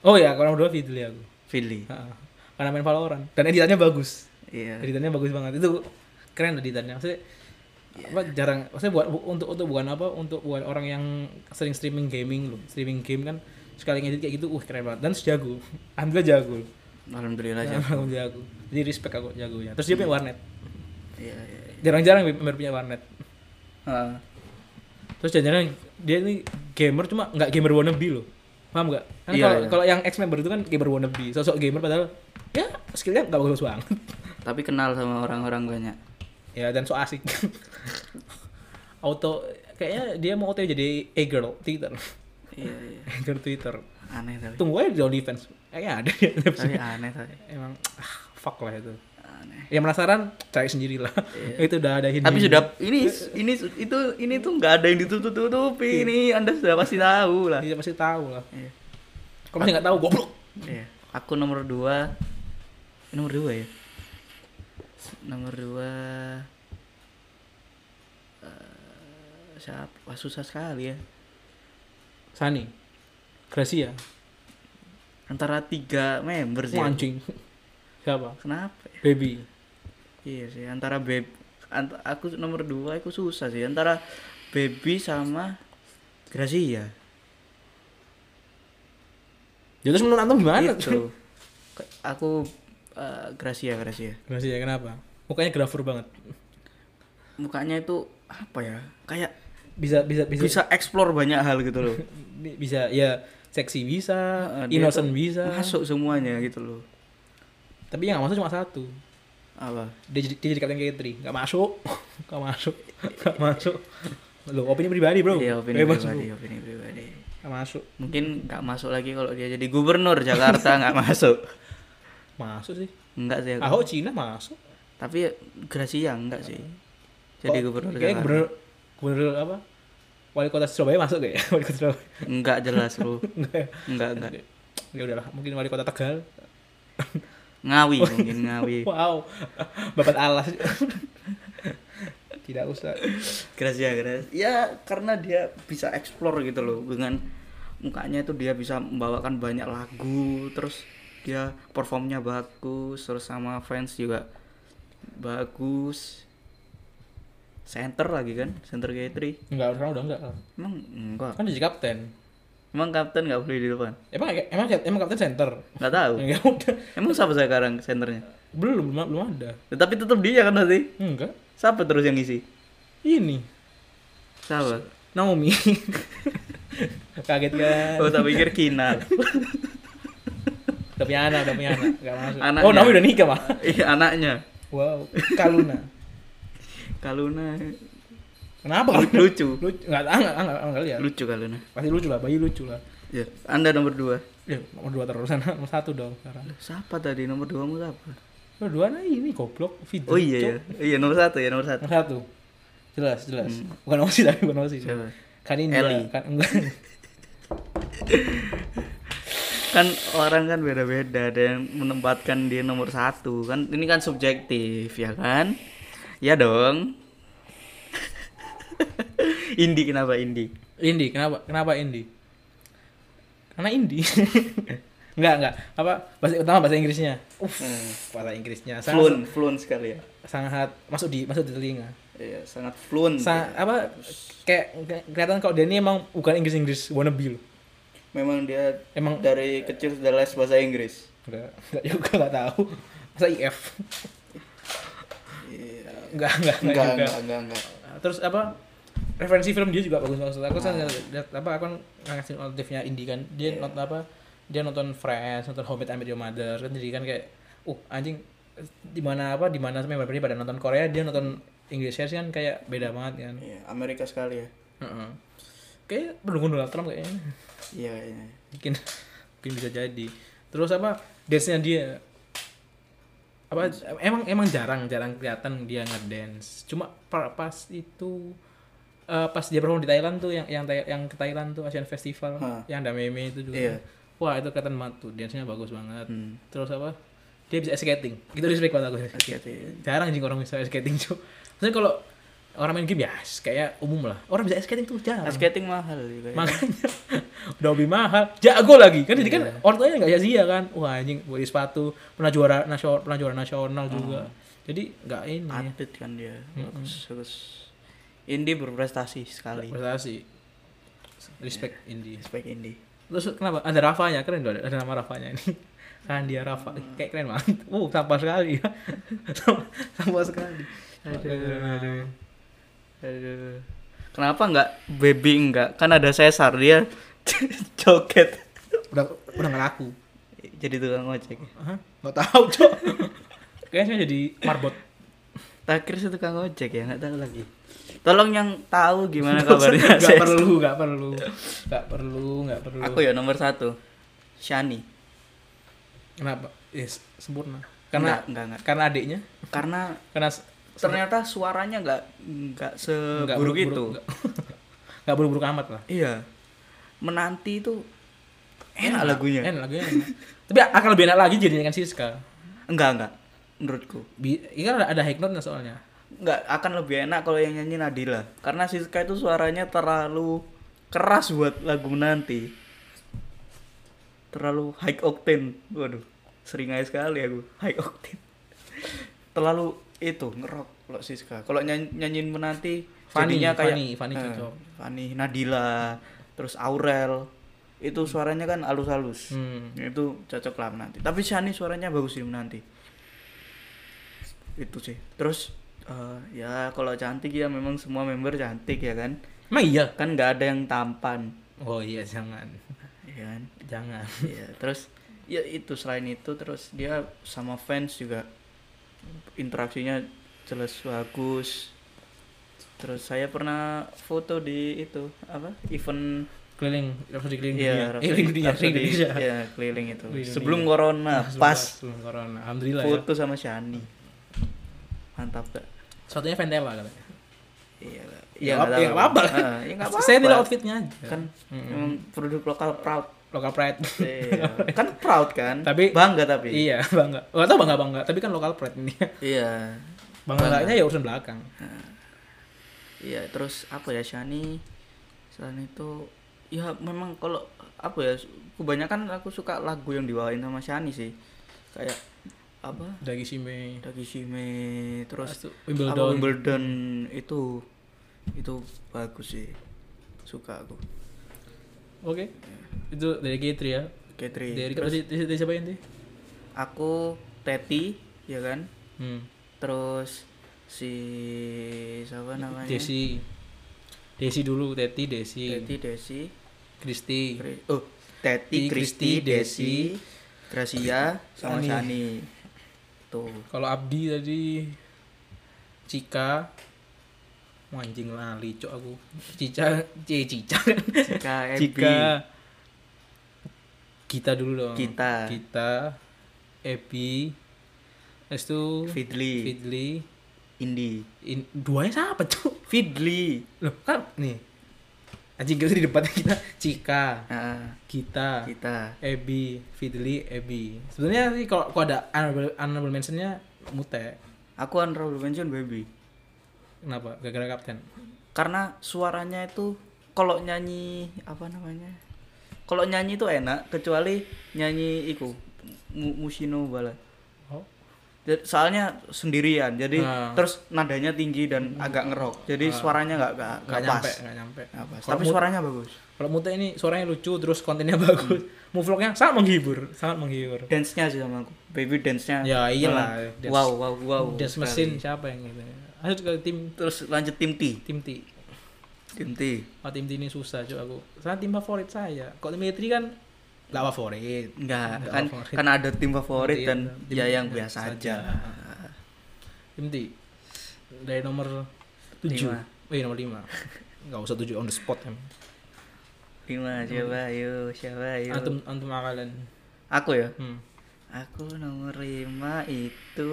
[SPEAKER 1] Oh iya, kalau nomor dua Fidli aku.
[SPEAKER 2] Fidli
[SPEAKER 1] Ha-ha. Karena main Valorant dan editannya bagus.
[SPEAKER 2] iya
[SPEAKER 1] Editannya bagus banget. Itu keren editannya. Maksudnya apa jarang maksudnya buat bu- untuk untuk bukan apa untuk buat orang yang sering streaming gaming loh streaming game kan sekali ngedit kayak gitu wah keren banget dan sejago *laughs* alhamdulillah jago
[SPEAKER 2] Alhamdulillah
[SPEAKER 1] *laughs*
[SPEAKER 2] aja.
[SPEAKER 1] alhamdulillah Nah, jago jadi respect aku jagonya terus dia punya warnet
[SPEAKER 2] Iya, iya. iya.
[SPEAKER 1] jarang-jarang member punya warnet
[SPEAKER 2] Ah,
[SPEAKER 1] terus jangan dia ini gamer cuma nggak gamer wannabe loh paham nggak kan
[SPEAKER 2] Iya,
[SPEAKER 1] kalau
[SPEAKER 2] iya.
[SPEAKER 1] kalau yang ex member itu kan gamer wannabe sosok gamer padahal ya skillnya nggak bagus banget *laughs*
[SPEAKER 2] tapi kenal sama orang-orang banyak.
[SPEAKER 1] ya dan so asik *laughs* auto kayaknya dia mau auto jadi a girl twitter *laughs*
[SPEAKER 2] Iya, iya.
[SPEAKER 1] a girl twitter
[SPEAKER 2] Aneh tapi.
[SPEAKER 1] tunggu aja di OnlyFans kayaknya ada ya
[SPEAKER 2] Tapi aneh tapi.
[SPEAKER 1] emang ah, fuck lah itu
[SPEAKER 2] Aneh.
[SPEAKER 1] yang penasaran cari sendirilah *laughs* itu udah ada hidden
[SPEAKER 2] Iya. Tapi sudah ini ini itu ini tuh nggak ada yang
[SPEAKER 1] Iya.
[SPEAKER 2] ditutup-tutupi ini Anda sudah pasti tahu lah.
[SPEAKER 1] dia pasti tahu lah
[SPEAKER 2] Iya.
[SPEAKER 1] kalau masih nggak tahu goblok
[SPEAKER 2] Iya. Aku nomor dua nomor dua ya. Nomor dua eh, siapa? Wah, susah sekali ya.
[SPEAKER 1] Sani Gracia
[SPEAKER 2] Antara tiga member sih.
[SPEAKER 1] Wah, anjing *laughs* siapa
[SPEAKER 2] Kenapa? ya?
[SPEAKER 1] baby
[SPEAKER 2] Iya sih, antara beb ant- aku nomor dua aku susah sih antara baby sama Gracia.
[SPEAKER 1] ya terus menurut antum gimana
[SPEAKER 2] Itu. Ke- Gitu. Aku eh, Gracia Gracia.
[SPEAKER 1] Gracia ya, kenapa mukanya grafur banget
[SPEAKER 2] Mukanya itu apa ya? Kayak
[SPEAKER 1] bisa bisa bisa
[SPEAKER 2] bisa explore banyak hal gitu loh.
[SPEAKER 1] bi- bisa ya seksi bisa
[SPEAKER 2] Heeh, Ah, dia
[SPEAKER 1] innocent
[SPEAKER 2] tuh
[SPEAKER 1] bisa
[SPEAKER 2] Masuk semuanya gitu loh.
[SPEAKER 1] tapi yang nggak masuk cuma satu
[SPEAKER 2] Apa?
[SPEAKER 1] dia jadi, dia jadi kapten Katri nggak masuk *laughs* nggak masuk nggak masuk lo opini pribadi bro
[SPEAKER 2] Iya, opini
[SPEAKER 1] Bebas,
[SPEAKER 2] pribadi,
[SPEAKER 1] bro.
[SPEAKER 2] opini pribadi.
[SPEAKER 1] nggak masuk
[SPEAKER 2] Mungkin nggak masuk lagi kalau dia jadi gubernur Jakarta nggak masuk.
[SPEAKER 1] masuk sih
[SPEAKER 2] Enggak sih. aku.
[SPEAKER 1] Ahok Cina masuk
[SPEAKER 2] Tapi Gracia enggak sih. Jadi
[SPEAKER 1] Oh,
[SPEAKER 2] gubernur
[SPEAKER 1] kayaknya
[SPEAKER 2] Jakarta.
[SPEAKER 1] gubernur gubernur apa wali kota Surabaya masuk kayak *laughs* wali kota Surabaya
[SPEAKER 2] Enggak jelas, Bro. Enggak, enggak.
[SPEAKER 1] ya udahlah mungkin wali kota Tegal
[SPEAKER 2] Ngawi mungkin Ngawi.
[SPEAKER 1] wow babat alas tidak usah
[SPEAKER 2] Gracia, Gracia. Ya, karena dia bisa explore gitu loh dengan mukanya itu dia bisa membawakan banyak lagu, terus dia performnya bagus, terus sama fans juga bagus. Center lagi kan, center Gayatri.
[SPEAKER 1] enggak sekarang udah enggak
[SPEAKER 2] Emang enggak.
[SPEAKER 1] kan dia jadi kapten
[SPEAKER 2] Emang kapten nggak boleh di depan.
[SPEAKER 1] emang emang emang kapten center
[SPEAKER 2] Nggak tahu.
[SPEAKER 1] enggak udah
[SPEAKER 2] Emang siapa sekarang senternya?
[SPEAKER 1] belum belum belum ada
[SPEAKER 2] Tetapi tetap dia kan nanti.
[SPEAKER 1] enggak
[SPEAKER 2] Siapa terus yang isi?
[SPEAKER 1] ini
[SPEAKER 2] Siapa?
[SPEAKER 1] Naomi kaget kan
[SPEAKER 2] Oh, tak pikir *laughs* Kinar.
[SPEAKER 1] udah punya anak udah punya anak enggak masuk
[SPEAKER 2] Anaknya.
[SPEAKER 1] oh Naomi udah nikah mah
[SPEAKER 2] Iya, anaknya.
[SPEAKER 1] wow Kaluna
[SPEAKER 2] Kaluna
[SPEAKER 1] kenapa Kaluna
[SPEAKER 2] lucu.
[SPEAKER 1] lucu enggak enggak enggak enggak lihat
[SPEAKER 2] Lucu Kaluna.
[SPEAKER 1] pasti lucu lah bayi lucu lah
[SPEAKER 2] Ya, Anda nomor dua
[SPEAKER 1] ya nomor dua terus *laughs* nomor satu dong sekarang
[SPEAKER 2] Loh, Siapa tadi nomor 2 mu siapa?
[SPEAKER 1] nomor dua nah ini goblok video
[SPEAKER 2] Oh iya ya. Iya nomor satu ya, nomor satu
[SPEAKER 1] Nomor satu. Jelas, jelas. Bukan Osi tapi bukan Osi.
[SPEAKER 2] Siapa?
[SPEAKER 1] Kan ini
[SPEAKER 2] Eli.
[SPEAKER 1] kan enggak.
[SPEAKER 2] Kan orang kan beda-beda ada yang menempatkan dia nomor satu Kan ini kan subjektif ya kan? Ya dong. *laughs* Indi kenapa Indi?
[SPEAKER 1] *laughs* Indi, kenapa? Kenapa Indi? Karena Indi. *laughs* enggak, enggak. Apa bahasa utama bahasa Inggrisnya? Uff, bahasa Inggrisnya sangat,
[SPEAKER 2] Fluent, fluent Hmm. sekali ya.
[SPEAKER 1] sangat masuk di masuk di telinga.
[SPEAKER 2] Iya, sangat fluent.
[SPEAKER 1] Sa- apa kayak ke- kelihatan kalau dia ini emang bukan Inggris-Inggris wannabe loh.
[SPEAKER 2] Memang dia
[SPEAKER 1] Emang
[SPEAKER 2] dari kecil sudah les bahasa Inggris.
[SPEAKER 1] enggak enggak juga enggak tahu. Masa IF. Enggak, enggak, enggak, juga.
[SPEAKER 2] Iya. enggak, enggak.
[SPEAKER 1] Eh, terus apa referensi film dia juga bagus banget aku kan lihat apa aku kan ngasih notifnya indie kan dia nonton apa dia nonton Friends nonton How I Met Your Mother kan jadi kan kayak uh anjing di mana apa di mana member dia pada nonton Korea dia nonton Inggrisnya sih kan kayak beda banget kan
[SPEAKER 2] Iya, Amerika sekali ya.
[SPEAKER 1] Heeh. kayak pendukung Donald Trump kayaknya
[SPEAKER 2] Iya kayaknya.
[SPEAKER 1] mungkin mungkin bisa jadi terus apa dance nya dia apa emang emang jarang jarang kelihatan dia ngedance cuma pa- pas itu eh, pas dia perform di Thailand tuh yang yang Thai- yang ke Thailand tuh Asian Festival
[SPEAKER 2] Hah.
[SPEAKER 1] yang ada meme itu juga
[SPEAKER 2] Iya.
[SPEAKER 1] wah itu kelihatan banget tuh dance nya bagus banget
[SPEAKER 2] Hmm.
[SPEAKER 1] terus apa dia bisa skating itu respect banget aku jarang sih orang bisa skating cuy maksudnya kalau orang main game ya kayak umum lah orang bisa skating tuh jarang
[SPEAKER 2] Skating mahal juga. ya.
[SPEAKER 1] makanya *laughs* udah lebih mahal jago lagi kan jadi kan
[SPEAKER 2] Iya.
[SPEAKER 1] orang tuanya nggak sia-sia kan wah anjing beli sepatu pernah juara nasional pernah juara nasional
[SPEAKER 2] Hmm.
[SPEAKER 1] juga jadi nggak ini
[SPEAKER 2] Atlet kan dia. Bagus, bagus. Indi berprestasi sekali.
[SPEAKER 1] prestasi respect Indi
[SPEAKER 2] Iya. Respect Indi. *laughs*
[SPEAKER 1] Terus kenapa? Ada Rafanya, keren tuh ada, ada nama Rafanya ini. *laughs* Kan dia Rafa, kayak keren banget. Wow, sampah sekali *laughs* ya. Sampah- sampah sekali.
[SPEAKER 2] aduh aduh kenapa nggak baby nggak kan ada Cesar dia *laughs* joget
[SPEAKER 1] Udah udah nggak laku.
[SPEAKER 2] jadi tukang ojek
[SPEAKER 1] Hah? Nggak tahu, Cok. Kayaknya saya jadi marbot.
[SPEAKER 2] Takir sih tukang ojek ya nggak tahu lagi tolong yang tahu gimana *laughs* kabarnya
[SPEAKER 1] *laughs* Nggak
[SPEAKER 2] Cesar.
[SPEAKER 1] perlu, nggak perlu. Nggak perlu, nggak perlu.
[SPEAKER 2] aku ya nomor satu Shani
[SPEAKER 1] Kenapa? Yes, sempurna. Karena
[SPEAKER 2] Nggak, nggak, nggak.
[SPEAKER 1] karena adiknya,
[SPEAKER 2] karena
[SPEAKER 1] karena s-
[SPEAKER 2] ternyata suaranya nggak
[SPEAKER 1] nggak
[SPEAKER 2] nggak seburuk Eh, itu
[SPEAKER 1] nggak- *laughs* nggak buruk-buruk amat lah.
[SPEAKER 2] iya menanti itu enak lagunya
[SPEAKER 1] Enak lagunya. enak. Tapi akan lebih enak lagi jadinya kan Siska.
[SPEAKER 2] enggak enggak menurutku
[SPEAKER 1] Bi ini kan ada, ada high note-nya soalnya.
[SPEAKER 2] nggak akan lebih enak kalau yang nyanyi Nadila karena Siska itu suaranya terlalu keras buat lagu menanti terlalu high octane waduh sering aja sekali aku high octane terlalu itu ngerok kalau Siska kalau nyanyi nyanyiin menanti
[SPEAKER 1] Funny,
[SPEAKER 2] jadinya kayak
[SPEAKER 1] funny, funny
[SPEAKER 2] eh,
[SPEAKER 1] cocok.
[SPEAKER 2] funny, Nadila terus Aurel itu suaranya kan halus-halus
[SPEAKER 1] Hmm.
[SPEAKER 2] itu cocok lah menanti tapi Shani suaranya bagus sih menanti itu sih terus eh, ya kalau cantik ya memang semua member cantik ya kan
[SPEAKER 1] Emang iya?
[SPEAKER 2] kan nggak ada yang tampan
[SPEAKER 1] Oh iya, jangan.
[SPEAKER 2] ya kan
[SPEAKER 1] Jangan.
[SPEAKER 2] Iya, terus ya itu selain itu terus dia sama fans juga interaksinya jelas bagus terus saya pernah foto di itu apa event
[SPEAKER 1] Keliling, Rhapsody keliling
[SPEAKER 2] ya
[SPEAKER 1] dunia. Eh, keliling dunia, keliling Indonesia. *laughs*
[SPEAKER 2] Iya, keliling itu
[SPEAKER 1] Keliling
[SPEAKER 2] sebelum
[SPEAKER 1] dunia.
[SPEAKER 2] corona
[SPEAKER 1] Sebelum-
[SPEAKER 2] Iya, pas
[SPEAKER 1] sebelum corona. Alhamdulillah ya.
[SPEAKER 2] foto sama Shani mantap gak
[SPEAKER 1] Satunya Ventela katanya.
[SPEAKER 2] iya lah.
[SPEAKER 1] Ya,
[SPEAKER 2] nggak
[SPEAKER 1] apa-
[SPEAKER 2] tahu.
[SPEAKER 1] ya, nggak apa-apa.
[SPEAKER 2] Heeh, ya nggak
[SPEAKER 1] Saya
[SPEAKER 2] apa-apa.
[SPEAKER 1] tidak outfitnya aja.
[SPEAKER 2] kan emang produk lokal proud
[SPEAKER 1] Local pride.
[SPEAKER 2] Iya. kan proud kan
[SPEAKER 1] Tapi-
[SPEAKER 2] bangga tapi
[SPEAKER 1] iya, *laughs* bangga. Enggak tahu bangga bangga, tapi kan local pride ini.
[SPEAKER 2] Iya.
[SPEAKER 1] Bangga enggaknya ya urusan belakang.
[SPEAKER 2] Iya, terus apa ya Shani? Selain itu ya memang kalau apa ya kebanyakan aku suka lagu yang dibawain sama Shani sih. Kayak apa?
[SPEAKER 1] Dagishime.
[SPEAKER 2] Dakishime, terus
[SPEAKER 1] Terus
[SPEAKER 2] apa,
[SPEAKER 1] Wimbledon.
[SPEAKER 2] Wimbledon itu itu bagus sih. Suka aku.
[SPEAKER 1] Oke. Itu dari G3 ya.
[SPEAKER 2] Katri.
[SPEAKER 1] Dari dari, dari, dari siapa ini?
[SPEAKER 2] Aku Teti, ya kan?
[SPEAKER 1] Hmm.
[SPEAKER 2] Terus si siapa namanya?
[SPEAKER 1] Desi. Desi dulu, Teti, Desi,
[SPEAKER 2] Teti Desi.
[SPEAKER 1] Kristi.
[SPEAKER 2] Kri- Oh,
[SPEAKER 1] Teti,
[SPEAKER 2] Teti, Kristi,
[SPEAKER 1] Kristi,
[SPEAKER 2] Desi, Gracia, sama
[SPEAKER 1] Shani.
[SPEAKER 2] Shani. Tuh.
[SPEAKER 1] Kalau Abdi tadi Cika Wah, anjing lali cok aku. Cica, C Cica. *laughs*
[SPEAKER 2] Cika, Ebi,
[SPEAKER 1] Cika. Kita dulu dong.
[SPEAKER 2] Gita.
[SPEAKER 1] Kita Ebi. Terus itu
[SPEAKER 2] Fidli,
[SPEAKER 1] Fidli.
[SPEAKER 2] Indi.
[SPEAKER 1] In, duanya siapa cok?
[SPEAKER 2] Fidli.
[SPEAKER 1] Loh, kan nih. Anjing kita di depannya kita Cika,
[SPEAKER 2] Nah,
[SPEAKER 1] kita,
[SPEAKER 2] kita.
[SPEAKER 1] Ebi, Fidli, Ebi. Sebenarnya sih kalau kalau ada honorable, honorable mentionnya Mute.
[SPEAKER 2] Aku honorable mention baby.
[SPEAKER 1] Kenapa? Gara-gara kapten.
[SPEAKER 2] Karena suaranya itu kalau nyanyi apa namanya? Kalau nyanyi itu enak kecuali nyanyi iku Mu- Mushino Bala.
[SPEAKER 1] Oh.
[SPEAKER 2] Ja- soalnya sendirian jadi
[SPEAKER 1] Ah.
[SPEAKER 2] terus nadanya tinggi dan agak ngerok jadi suaranya nggak nggak nggak
[SPEAKER 1] Gak
[SPEAKER 2] pas
[SPEAKER 1] nyampe, gak nyampe.
[SPEAKER 2] Nggak pas.
[SPEAKER 1] Kalau
[SPEAKER 2] tapi
[SPEAKER 1] Mute-
[SPEAKER 2] suaranya bagus
[SPEAKER 1] Kalau Mute ini suaranya lucu terus kontennya *laughs* bagus. Move vlognya sangat menghibur, sangat menghibur.
[SPEAKER 2] dance nya sih sama aku baby dance nya
[SPEAKER 1] Ya, iyalah, dance-
[SPEAKER 2] wow wow wow
[SPEAKER 1] Dance mesin siapa yang gitu. Lanjut ke tim
[SPEAKER 2] terus lanjut tim T
[SPEAKER 1] tim T.
[SPEAKER 2] tim T
[SPEAKER 1] Oh, tim T ini susah cuy aku. Saya tim favorit saya. Kalau tim Mitri kan gak favorit.
[SPEAKER 2] enggak
[SPEAKER 1] Nggak
[SPEAKER 2] kan
[SPEAKER 1] favorit.
[SPEAKER 2] kan ada tim favorit
[SPEAKER 1] Tim-
[SPEAKER 2] dan
[SPEAKER 1] tim-
[SPEAKER 2] ya yang
[SPEAKER 1] tim-
[SPEAKER 2] biasa
[SPEAKER 1] saja.
[SPEAKER 2] aja
[SPEAKER 1] Tim T. Dari nomor 7.
[SPEAKER 2] Lima.
[SPEAKER 1] Eh, nomor 5. Enggak usah 7 on the spot kan.
[SPEAKER 2] lima siapa yuk siapa yuk
[SPEAKER 1] Antum antum akalan.
[SPEAKER 2] aku ya
[SPEAKER 1] Hmm.
[SPEAKER 2] aku nomor lima itu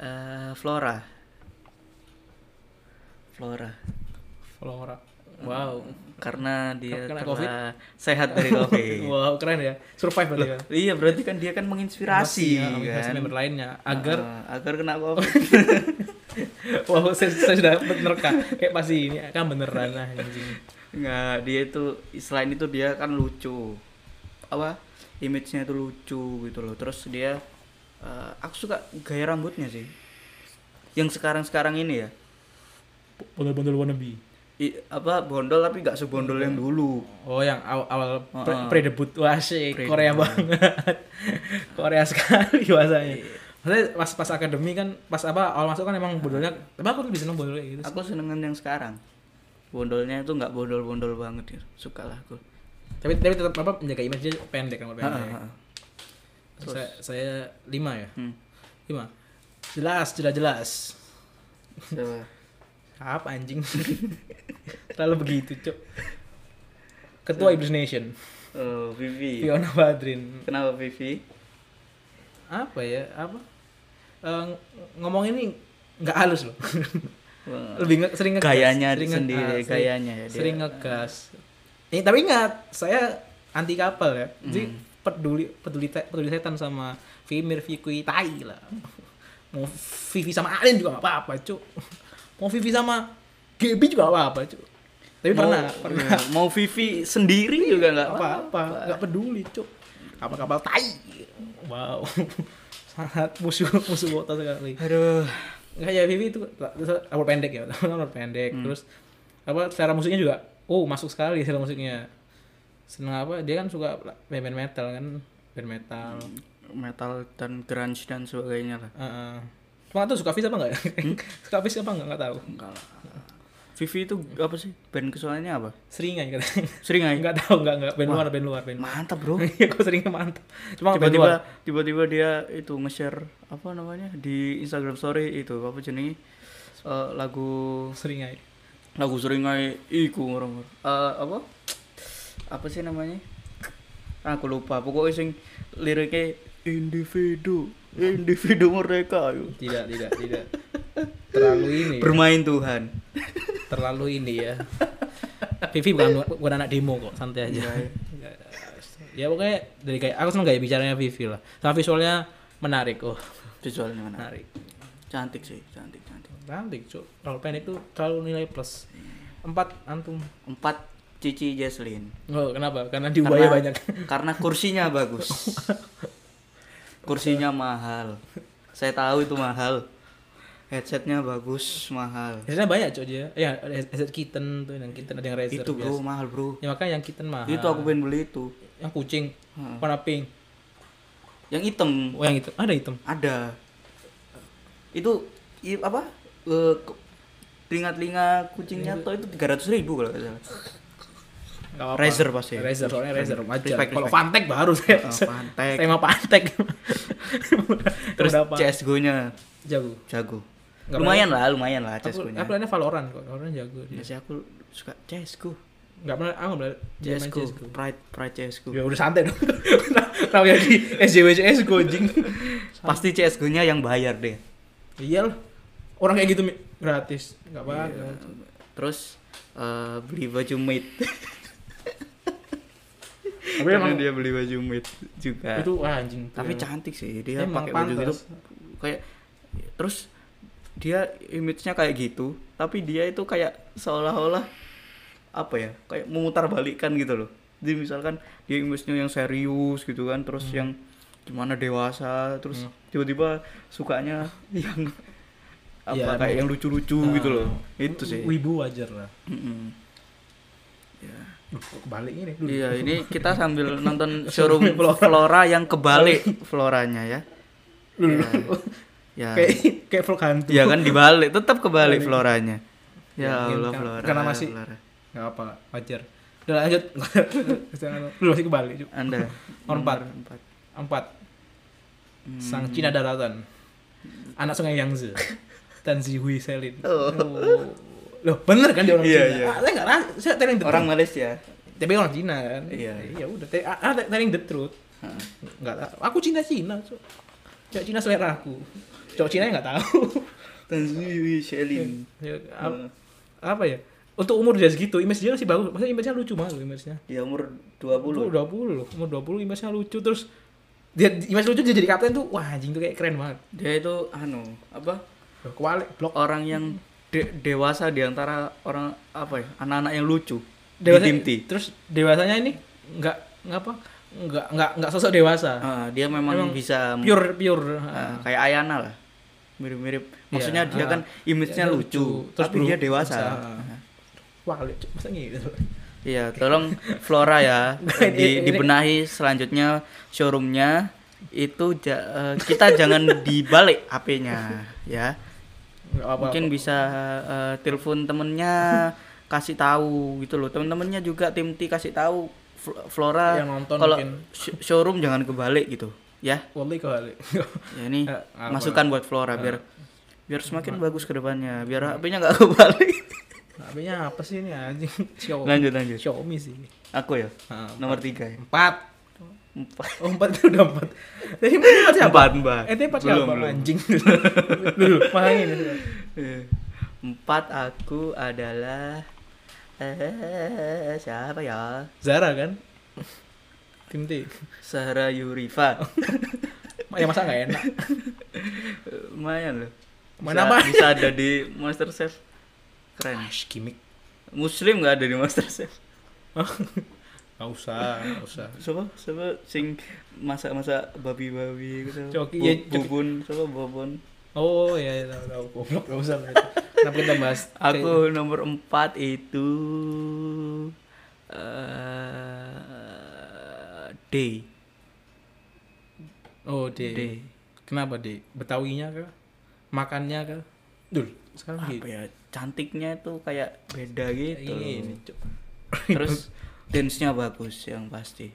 [SPEAKER 2] eh, Flora Flora
[SPEAKER 1] Flora. Wow.
[SPEAKER 2] karena dia
[SPEAKER 1] Kena
[SPEAKER 2] telah
[SPEAKER 1] COVID?
[SPEAKER 2] sehat dari covid
[SPEAKER 1] *laughs* *laughs* Wow, keren ya. Survive berarti kan.
[SPEAKER 2] iya berarti kan dia kan menginspirasi
[SPEAKER 1] Ya, motivasi
[SPEAKER 2] kan
[SPEAKER 1] member lainnya agar
[SPEAKER 2] Ah, agar kena covid
[SPEAKER 1] Wah, *laughs* saya, saya sudah menerka. Kayak pasti ini akan beneran anjing.
[SPEAKER 2] nggak dia itu selain itu dia kan lucu apa image-nya itu lucu gitu loh terus dia eh, aku suka gaya rambutnya sih yang sekarang sekarang ini ya
[SPEAKER 1] Bondol-bondol wannabe.
[SPEAKER 2] i- apa bondol tapi nggak sebondol yang dulu
[SPEAKER 1] Oh yang awal, awal pre,
[SPEAKER 2] Heeh.
[SPEAKER 1] pre-debut wah sih
[SPEAKER 2] Pre-debut.
[SPEAKER 1] Korea banget. *laughs* Korea sekali bahasanya. Maksudnya pas pas akademi kan pas apa awal masuk kan emang bodolnya tapi aku tuh bisa seneng bodolnya gitu.
[SPEAKER 2] aku senengan yang sekarang bondolnya itu nggak bondol-bondol banget ya suka lah aku
[SPEAKER 1] Tapi tapi tetap apa menjaga image dia pendek kan pendek.
[SPEAKER 2] Ha, ha, ha.
[SPEAKER 1] Saya saya 5 ya.
[SPEAKER 2] Hmm.
[SPEAKER 1] 5. Jelas, jelas jelas.
[SPEAKER 2] Coba.
[SPEAKER 1] Apa anjing? *laughs* Terlalu begitu, Cuk. Ketua Iblis Nation,
[SPEAKER 2] Oh, Vivi.
[SPEAKER 1] Fiona Badrin.
[SPEAKER 2] Kenapa Vivi?
[SPEAKER 1] Apa ya? Apa? Eh, ngomong ini nggak halus loh. *laughs*
[SPEAKER 2] Wah.
[SPEAKER 1] lebih nge- sering ngegas
[SPEAKER 2] Gayanya
[SPEAKER 1] sering
[SPEAKER 2] sendiri,
[SPEAKER 1] ngegas, ah, sering-
[SPEAKER 2] gayanya ya dia.
[SPEAKER 1] sering ngegas ini tapi ingat saya anti kapal ya jadi
[SPEAKER 2] Hmm.
[SPEAKER 1] peduli peduli te- peduli setan sama Vimir Vikui Tai lah mau Vivi sama Alin juga gak apa-apa cuk mau Vivi sama Gaby juga gak apa-apa cuk tapi
[SPEAKER 2] Mau-
[SPEAKER 1] pernah pernah
[SPEAKER 2] iya, Mau Vivi sendiri juga nggak
[SPEAKER 1] apa-apa nggak peduli cuk kapal kapal Tai wow *laughs* sangat musuh musuh kota sekali
[SPEAKER 2] Aduh.
[SPEAKER 1] Enggak ya Vivi itu terus rambut pendek ya, *laughs* rambut pendek.
[SPEAKER 2] Hmm.
[SPEAKER 1] Terus apa secara musiknya juga oh masuk sekali secara musiknya. Seneng apa? Dia kan suka band metal kan, band metal.
[SPEAKER 2] Hmm. Metal dan grunge dan sebagainya lah.
[SPEAKER 1] Heeh. Cuma tuh suka Fis apa enggak?
[SPEAKER 2] Hmm?
[SPEAKER 1] *laughs* suka Fis apa enggak? Enggak tahu.
[SPEAKER 2] Enggak lah. Vivi itu apa sih? Band kesukaannya apa?
[SPEAKER 1] Seringan katanya. *laughs*
[SPEAKER 2] Sering aja.
[SPEAKER 1] Enggak tahu, enggak enggak band luar, band luar, band.
[SPEAKER 2] Mantap,
[SPEAKER 1] *laughs*
[SPEAKER 2] Bro.
[SPEAKER 1] Iya, kok seringnya mantap. Cuma band luar.
[SPEAKER 2] Tiba-tiba tiba-tiba dia itu nge-share apa namanya di Instagram story itu apa jenenge Eh, lagu
[SPEAKER 1] Seringan.
[SPEAKER 2] lagu sering ae iku ngorong Eh apa apa sih namanya aku lupa pokoknya sing liriknya individu individu mereka yuk.
[SPEAKER 1] Tidak, tidak, tidak. Terlalu ini. ya.
[SPEAKER 2] bermain Tuhan
[SPEAKER 1] terlalu ini ya. Vivi bukan bukan anak demo kok,
[SPEAKER 2] Iya,
[SPEAKER 1] santai aja. Nggak, ya pokoknya dari kayak aku seneng gaya bicaranya Vivi lah. Sama visualnya menarik, oh
[SPEAKER 2] Nah. visualnya mana
[SPEAKER 1] menarik.
[SPEAKER 2] cantik sih cantik cantik
[SPEAKER 1] Cantik, cuk. Terlalu pendek tuh terlalu nilai plus. Empat antum.
[SPEAKER 2] empat Cici Jesslyn
[SPEAKER 1] Oh, kenapa? Karena diubahnya banyak. *laughs*
[SPEAKER 2] karena kursinya bagus kursinya mahal saya tahu itu mahal headsetnya bagus mahal
[SPEAKER 1] Biasanya banyak cuk dia. Ya, ada headset kitten tuh, yang kitten ada yang razer.
[SPEAKER 2] itu
[SPEAKER 1] biasa.
[SPEAKER 2] bro mahal bro
[SPEAKER 1] Ya makanya yang kitten mahal.
[SPEAKER 2] itu aku Hmm. pengen beli itu
[SPEAKER 1] Yang kucing warna pink.
[SPEAKER 2] yang hitam
[SPEAKER 1] Oh, yang itu. Ada hitam.
[SPEAKER 2] ada itu i, apa Eh, ke- telinga-telinga kucing nyato itu tiga ratus ribu kalau nggak salah
[SPEAKER 1] *laughs* Nggak apa-apa.
[SPEAKER 2] Razer pasti.
[SPEAKER 1] Razer, soalnya Razer wajar.
[SPEAKER 2] Respect,
[SPEAKER 1] Kalau
[SPEAKER 2] respect.
[SPEAKER 1] Fantek baru saya. *laughs*
[SPEAKER 2] Oh, Fantek.
[SPEAKER 1] Saya mau Fantek.
[SPEAKER 2] terus
[SPEAKER 1] Udah apa?
[SPEAKER 2] CSGO nya
[SPEAKER 1] jago.
[SPEAKER 2] jago
[SPEAKER 1] Nggak
[SPEAKER 2] lumayan lah lumayan lah
[SPEAKER 1] Aku
[SPEAKER 2] CSGO nya
[SPEAKER 1] aku lainnya Valorant kok. Valorant jago dia.
[SPEAKER 2] biasanya aku suka CSGO
[SPEAKER 1] Enggak pernah aku bela- dia main
[SPEAKER 2] CSGO Pride Pride CSGO
[SPEAKER 1] Ya udah santai dong. *laughs* Tahu ya di SJW CSGO anjing.
[SPEAKER 2] pasti CSGO nya yang bayar deh
[SPEAKER 1] Iya loh. Orang kayak gitu Mi. gratis. Enggak
[SPEAKER 2] Iya.
[SPEAKER 1] apa-apa.
[SPEAKER 2] terus eh, beli baju mid
[SPEAKER 1] Tapi
[SPEAKER 2] karena
[SPEAKER 1] emang
[SPEAKER 2] dia beli baju mid juga
[SPEAKER 1] itu wah anjing. tuh
[SPEAKER 2] tapi
[SPEAKER 1] emang.
[SPEAKER 2] cantik sih dia
[SPEAKER 1] Emang
[SPEAKER 2] pakai baju gitu
[SPEAKER 1] pantas.
[SPEAKER 2] kayak terus dia image-nya kayak gitu tapi dia itu kayak seolah-olah apa ya kayak memutar balikan gitu loh jadi misalkan dia image-nya yang serius gitu kan terus
[SPEAKER 1] Hmm.
[SPEAKER 2] yang gimana dewasa terus tiba-tiba sukanya yang
[SPEAKER 1] *laughs*
[SPEAKER 2] apa
[SPEAKER 1] Ya,
[SPEAKER 2] kayak
[SPEAKER 1] emang.
[SPEAKER 2] yang lucu-lucu
[SPEAKER 1] Nah,
[SPEAKER 2] gitu loh itu sih
[SPEAKER 1] Wibu wajar lah.
[SPEAKER 2] Mm-mm. Ya.
[SPEAKER 1] Duh, kok kebalik ini. Duh.
[SPEAKER 2] Iya, ini kita
[SPEAKER 1] *laughs*
[SPEAKER 2] sambil nonton showroom Flora yang kebalik floranya ya.
[SPEAKER 1] Dulu.
[SPEAKER 2] Ya.
[SPEAKER 1] *laughs* Kayak kayak vlog hantu.
[SPEAKER 2] Ya kan dibalik, tetap kebalik
[SPEAKER 1] Kebalik.
[SPEAKER 2] floranya. Ya
[SPEAKER 1] Ya,
[SPEAKER 2] Allah
[SPEAKER 1] karena-
[SPEAKER 2] flora.
[SPEAKER 1] karena masih-
[SPEAKER 2] flora.
[SPEAKER 1] Enggak apa, wajar. Udah lanjut. *laughs* Jangan- Lu masih kebalik, Cuk.
[SPEAKER 2] *laughs* Anda
[SPEAKER 1] Nomor empat.
[SPEAKER 2] nomor empat.
[SPEAKER 1] Empat.
[SPEAKER 2] Hmm.
[SPEAKER 1] Sang Cina Daratan. Anak sungai Yangtze. Dan si Hui Selin.
[SPEAKER 2] Oh.
[SPEAKER 1] Loh, bener kan dia orang
[SPEAKER 2] Iya,
[SPEAKER 1] Cina?
[SPEAKER 2] iya.
[SPEAKER 1] Ah, saya nggak ras- saya telling the
[SPEAKER 2] Orang
[SPEAKER 1] truth.
[SPEAKER 2] Malaysia.
[SPEAKER 1] Tapi orang Cina kan.
[SPEAKER 2] Iya.
[SPEAKER 1] Iya udah, te- ah, ah, telling the truth.
[SPEAKER 2] Heeh.
[SPEAKER 1] Enggak tahu. Aku Cina Cina, Cok. Cok Cina selera aku. Cok Cina enggak tahu.
[SPEAKER 2] Tanzui Shelin.
[SPEAKER 1] *laughs* Ya,
[SPEAKER 2] Hmm.
[SPEAKER 1] ap- apa ya? Untuk umur dia segitu, image dia masih bagus. Maksudnya image-nya lucu banget loh, image-nya.
[SPEAKER 2] Dia umur 20.
[SPEAKER 1] 20 loh. Umur 20 image-nya lucu terus dia image lucu dia jadi kapten tuh wah anjing tuh kayak keren banget.
[SPEAKER 2] Dia itu anu, apa?
[SPEAKER 1] Loh, Kebalik blok
[SPEAKER 2] Orang yang de- dewasa di antara orang apa ya? Anak-anak yang lucu.
[SPEAKER 1] dewasa
[SPEAKER 2] di tim T.
[SPEAKER 1] terus dewasanya ini nggak nggak apa nggak nggak nggak sosok dewasa
[SPEAKER 2] Ah, dia memang,
[SPEAKER 1] Emang
[SPEAKER 2] bisa
[SPEAKER 1] pure pure
[SPEAKER 2] Ah, kayak Ayana lah mirip-mirip maksudnya
[SPEAKER 1] Iya,
[SPEAKER 2] dia
[SPEAKER 1] ah.
[SPEAKER 2] kan image-nya
[SPEAKER 1] Iya,
[SPEAKER 2] lucu
[SPEAKER 1] lucu. Terus
[SPEAKER 2] tapi dia
[SPEAKER 1] berubah.
[SPEAKER 2] dewasa
[SPEAKER 1] Ah. wah lucu masa gitu
[SPEAKER 2] Iya, tolong Flora ya
[SPEAKER 1] Nggak,
[SPEAKER 2] di,
[SPEAKER 1] *laughs* ini-
[SPEAKER 2] dibenahi selanjutnya showroomnya itu ja- eh, kita jangan dibalik HP-nya ya.
[SPEAKER 1] nggak apa,
[SPEAKER 2] Mungkin bisa eh, telepon temennya kasih tahu gitu loh. Temen-temennya juga tim T kasih tahu Fl- Flora
[SPEAKER 1] Yang nonton
[SPEAKER 2] kalau
[SPEAKER 1] mungkin.
[SPEAKER 2] sh- showroom jangan kebalik gitu ya.
[SPEAKER 1] Wali kali.
[SPEAKER 2] Ya
[SPEAKER 1] *laughs*
[SPEAKER 2] ini
[SPEAKER 1] Eh, apa? Eh.
[SPEAKER 2] masukan buat Flora biar biar semakin bagus ke depannya, biar HP-nya nggak *laughs* kebalik.
[SPEAKER 1] HP-nya apa sih ini anjing? Xiaomi.
[SPEAKER 2] *laughs* Lanjut, lanjut.
[SPEAKER 1] Xiaomi sih.
[SPEAKER 2] Aku ya.
[SPEAKER 1] Ah,
[SPEAKER 2] Nomor tiga ya.
[SPEAKER 1] Empat.
[SPEAKER 2] Empat.
[SPEAKER 1] Oh, empat itu udah empat. Tadi empat empat siapa?
[SPEAKER 2] Empat, empat.
[SPEAKER 1] Eh, tadi empat
[SPEAKER 2] Belum,
[SPEAKER 1] siapa
[SPEAKER 2] belum.
[SPEAKER 1] anjing? *laughs* Dulu, makanya ini.
[SPEAKER 2] Eh, Empat aku adalah eh siapa ya?
[SPEAKER 1] Zara kan? Tim T.
[SPEAKER 2] Sahara Yurifa.
[SPEAKER 1] Ya masa nggak enak?
[SPEAKER 2] Eh, Lumayan loh.
[SPEAKER 1] Mana,
[SPEAKER 2] bisa,
[SPEAKER 1] Pak?
[SPEAKER 2] bisa ada di Master Chef. Keren.
[SPEAKER 1] Ash, gimmick.
[SPEAKER 2] Muslim nggak ada di Master Chef.
[SPEAKER 1] Nggak usah, nggak usah.
[SPEAKER 2] Coba coba sing masak-masak babi-babi gitu.
[SPEAKER 1] Coki,
[SPEAKER 2] Bu-
[SPEAKER 1] ya, Coki.
[SPEAKER 2] bubun, coba bubun.
[SPEAKER 1] Oh iya, iya tahu tahu. Goblok nggak usah. berarti. Kenapa kita bahas? gitu?
[SPEAKER 2] Aku nomor empat itu eh D.
[SPEAKER 1] Oh D.
[SPEAKER 2] D.
[SPEAKER 1] Kenapa D? Betawinya kah? Makannya kah? Dul, sekarang
[SPEAKER 2] apa
[SPEAKER 1] gitu.
[SPEAKER 2] ya cantiknya itu kayak beda gitu
[SPEAKER 1] Ini, ini,
[SPEAKER 2] loh. terus dance-nya bagus yang pasti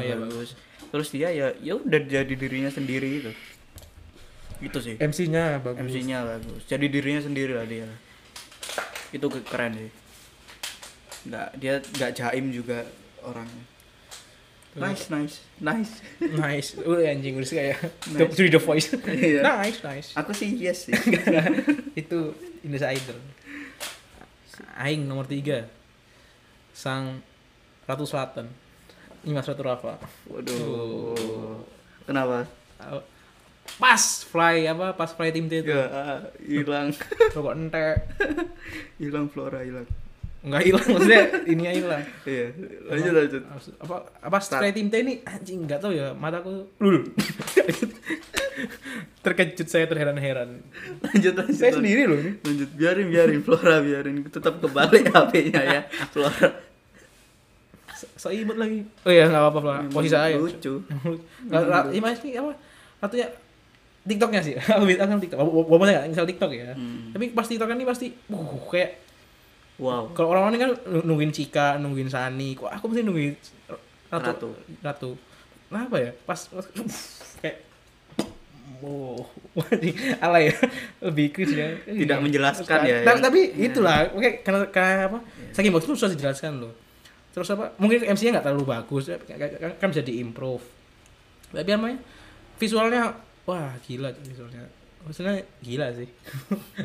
[SPEAKER 1] Ah, iya,
[SPEAKER 2] bagus terus dia ya ya udah jadi dirinya sendiri gitu itu sih
[SPEAKER 1] MC-nya Iya, bagus.
[SPEAKER 2] MC-nya ya? bagus jadi dirinya sendiri lah dia itu ke- keren sih nggak dia nggak jaim juga orangnya nice nice nice
[SPEAKER 1] Nice. Udah anjing udah sih kayak
[SPEAKER 2] Nice.
[SPEAKER 1] the, through the voice. Nah.
[SPEAKER 2] Iya.
[SPEAKER 1] nice,
[SPEAKER 2] *laughs*
[SPEAKER 1] nice.
[SPEAKER 2] aku sih yes sih
[SPEAKER 1] Itu Indonesia Idol. Aing nomor tiga Sang Ratu Selatan. Imas Ratu Rafa.
[SPEAKER 2] waduh kenapa
[SPEAKER 1] Pas fly apa? Pas fly tim T itu.
[SPEAKER 2] ya ah, hilang
[SPEAKER 1] Rokok entek.
[SPEAKER 2] hilang flora hilang
[SPEAKER 1] Enggak hilang maksudnya ininya hilang.
[SPEAKER 2] iya lanjut lanjut
[SPEAKER 1] Abs- apa apa setelah tim T ini anjing nggak tahu ya mataku lul *laughs* terkejut saya terheran-heran
[SPEAKER 2] lanjut lanjut
[SPEAKER 1] saya
[SPEAKER 2] lanjut.
[SPEAKER 1] sendiri loh ini
[SPEAKER 2] lanjut biarin biarin Flora biarin tetap kebalik *laughs* HP-nya ya Flora
[SPEAKER 1] so ibet lagi oh ya nggak apa-apa lah posisi saya
[SPEAKER 2] lucu
[SPEAKER 1] ini masih apa satunya TikToknya sih *laughs* aku bisa kan TikTok walaupun saya nggak misal TikTok ya
[SPEAKER 2] Hmm.
[SPEAKER 1] tapi pas TikTok ini pasti uh kayak
[SPEAKER 2] wow
[SPEAKER 1] kalau orang-orang ini kan nungguin Cika nungguin Sani kok aku mesti nungguin
[SPEAKER 2] Ratu.
[SPEAKER 1] ratu ratu kenapa ya pas, pas- *laughs* kayak oh anjing, alay ya lebih cringe ya
[SPEAKER 2] Tidak menjelaskan ya, Iya.
[SPEAKER 1] tapi,
[SPEAKER 2] yang-
[SPEAKER 1] tapi
[SPEAKER 2] ya.
[SPEAKER 1] itulah oke karena karena apa saking bagus itu susah dijelaskan loh terus apa mungkin MC-nya nggak terlalu bagus ya, kan- kan, kan bisa diimprove tapi apa namanya visualnya wah gila visualnya maksudnya gila sih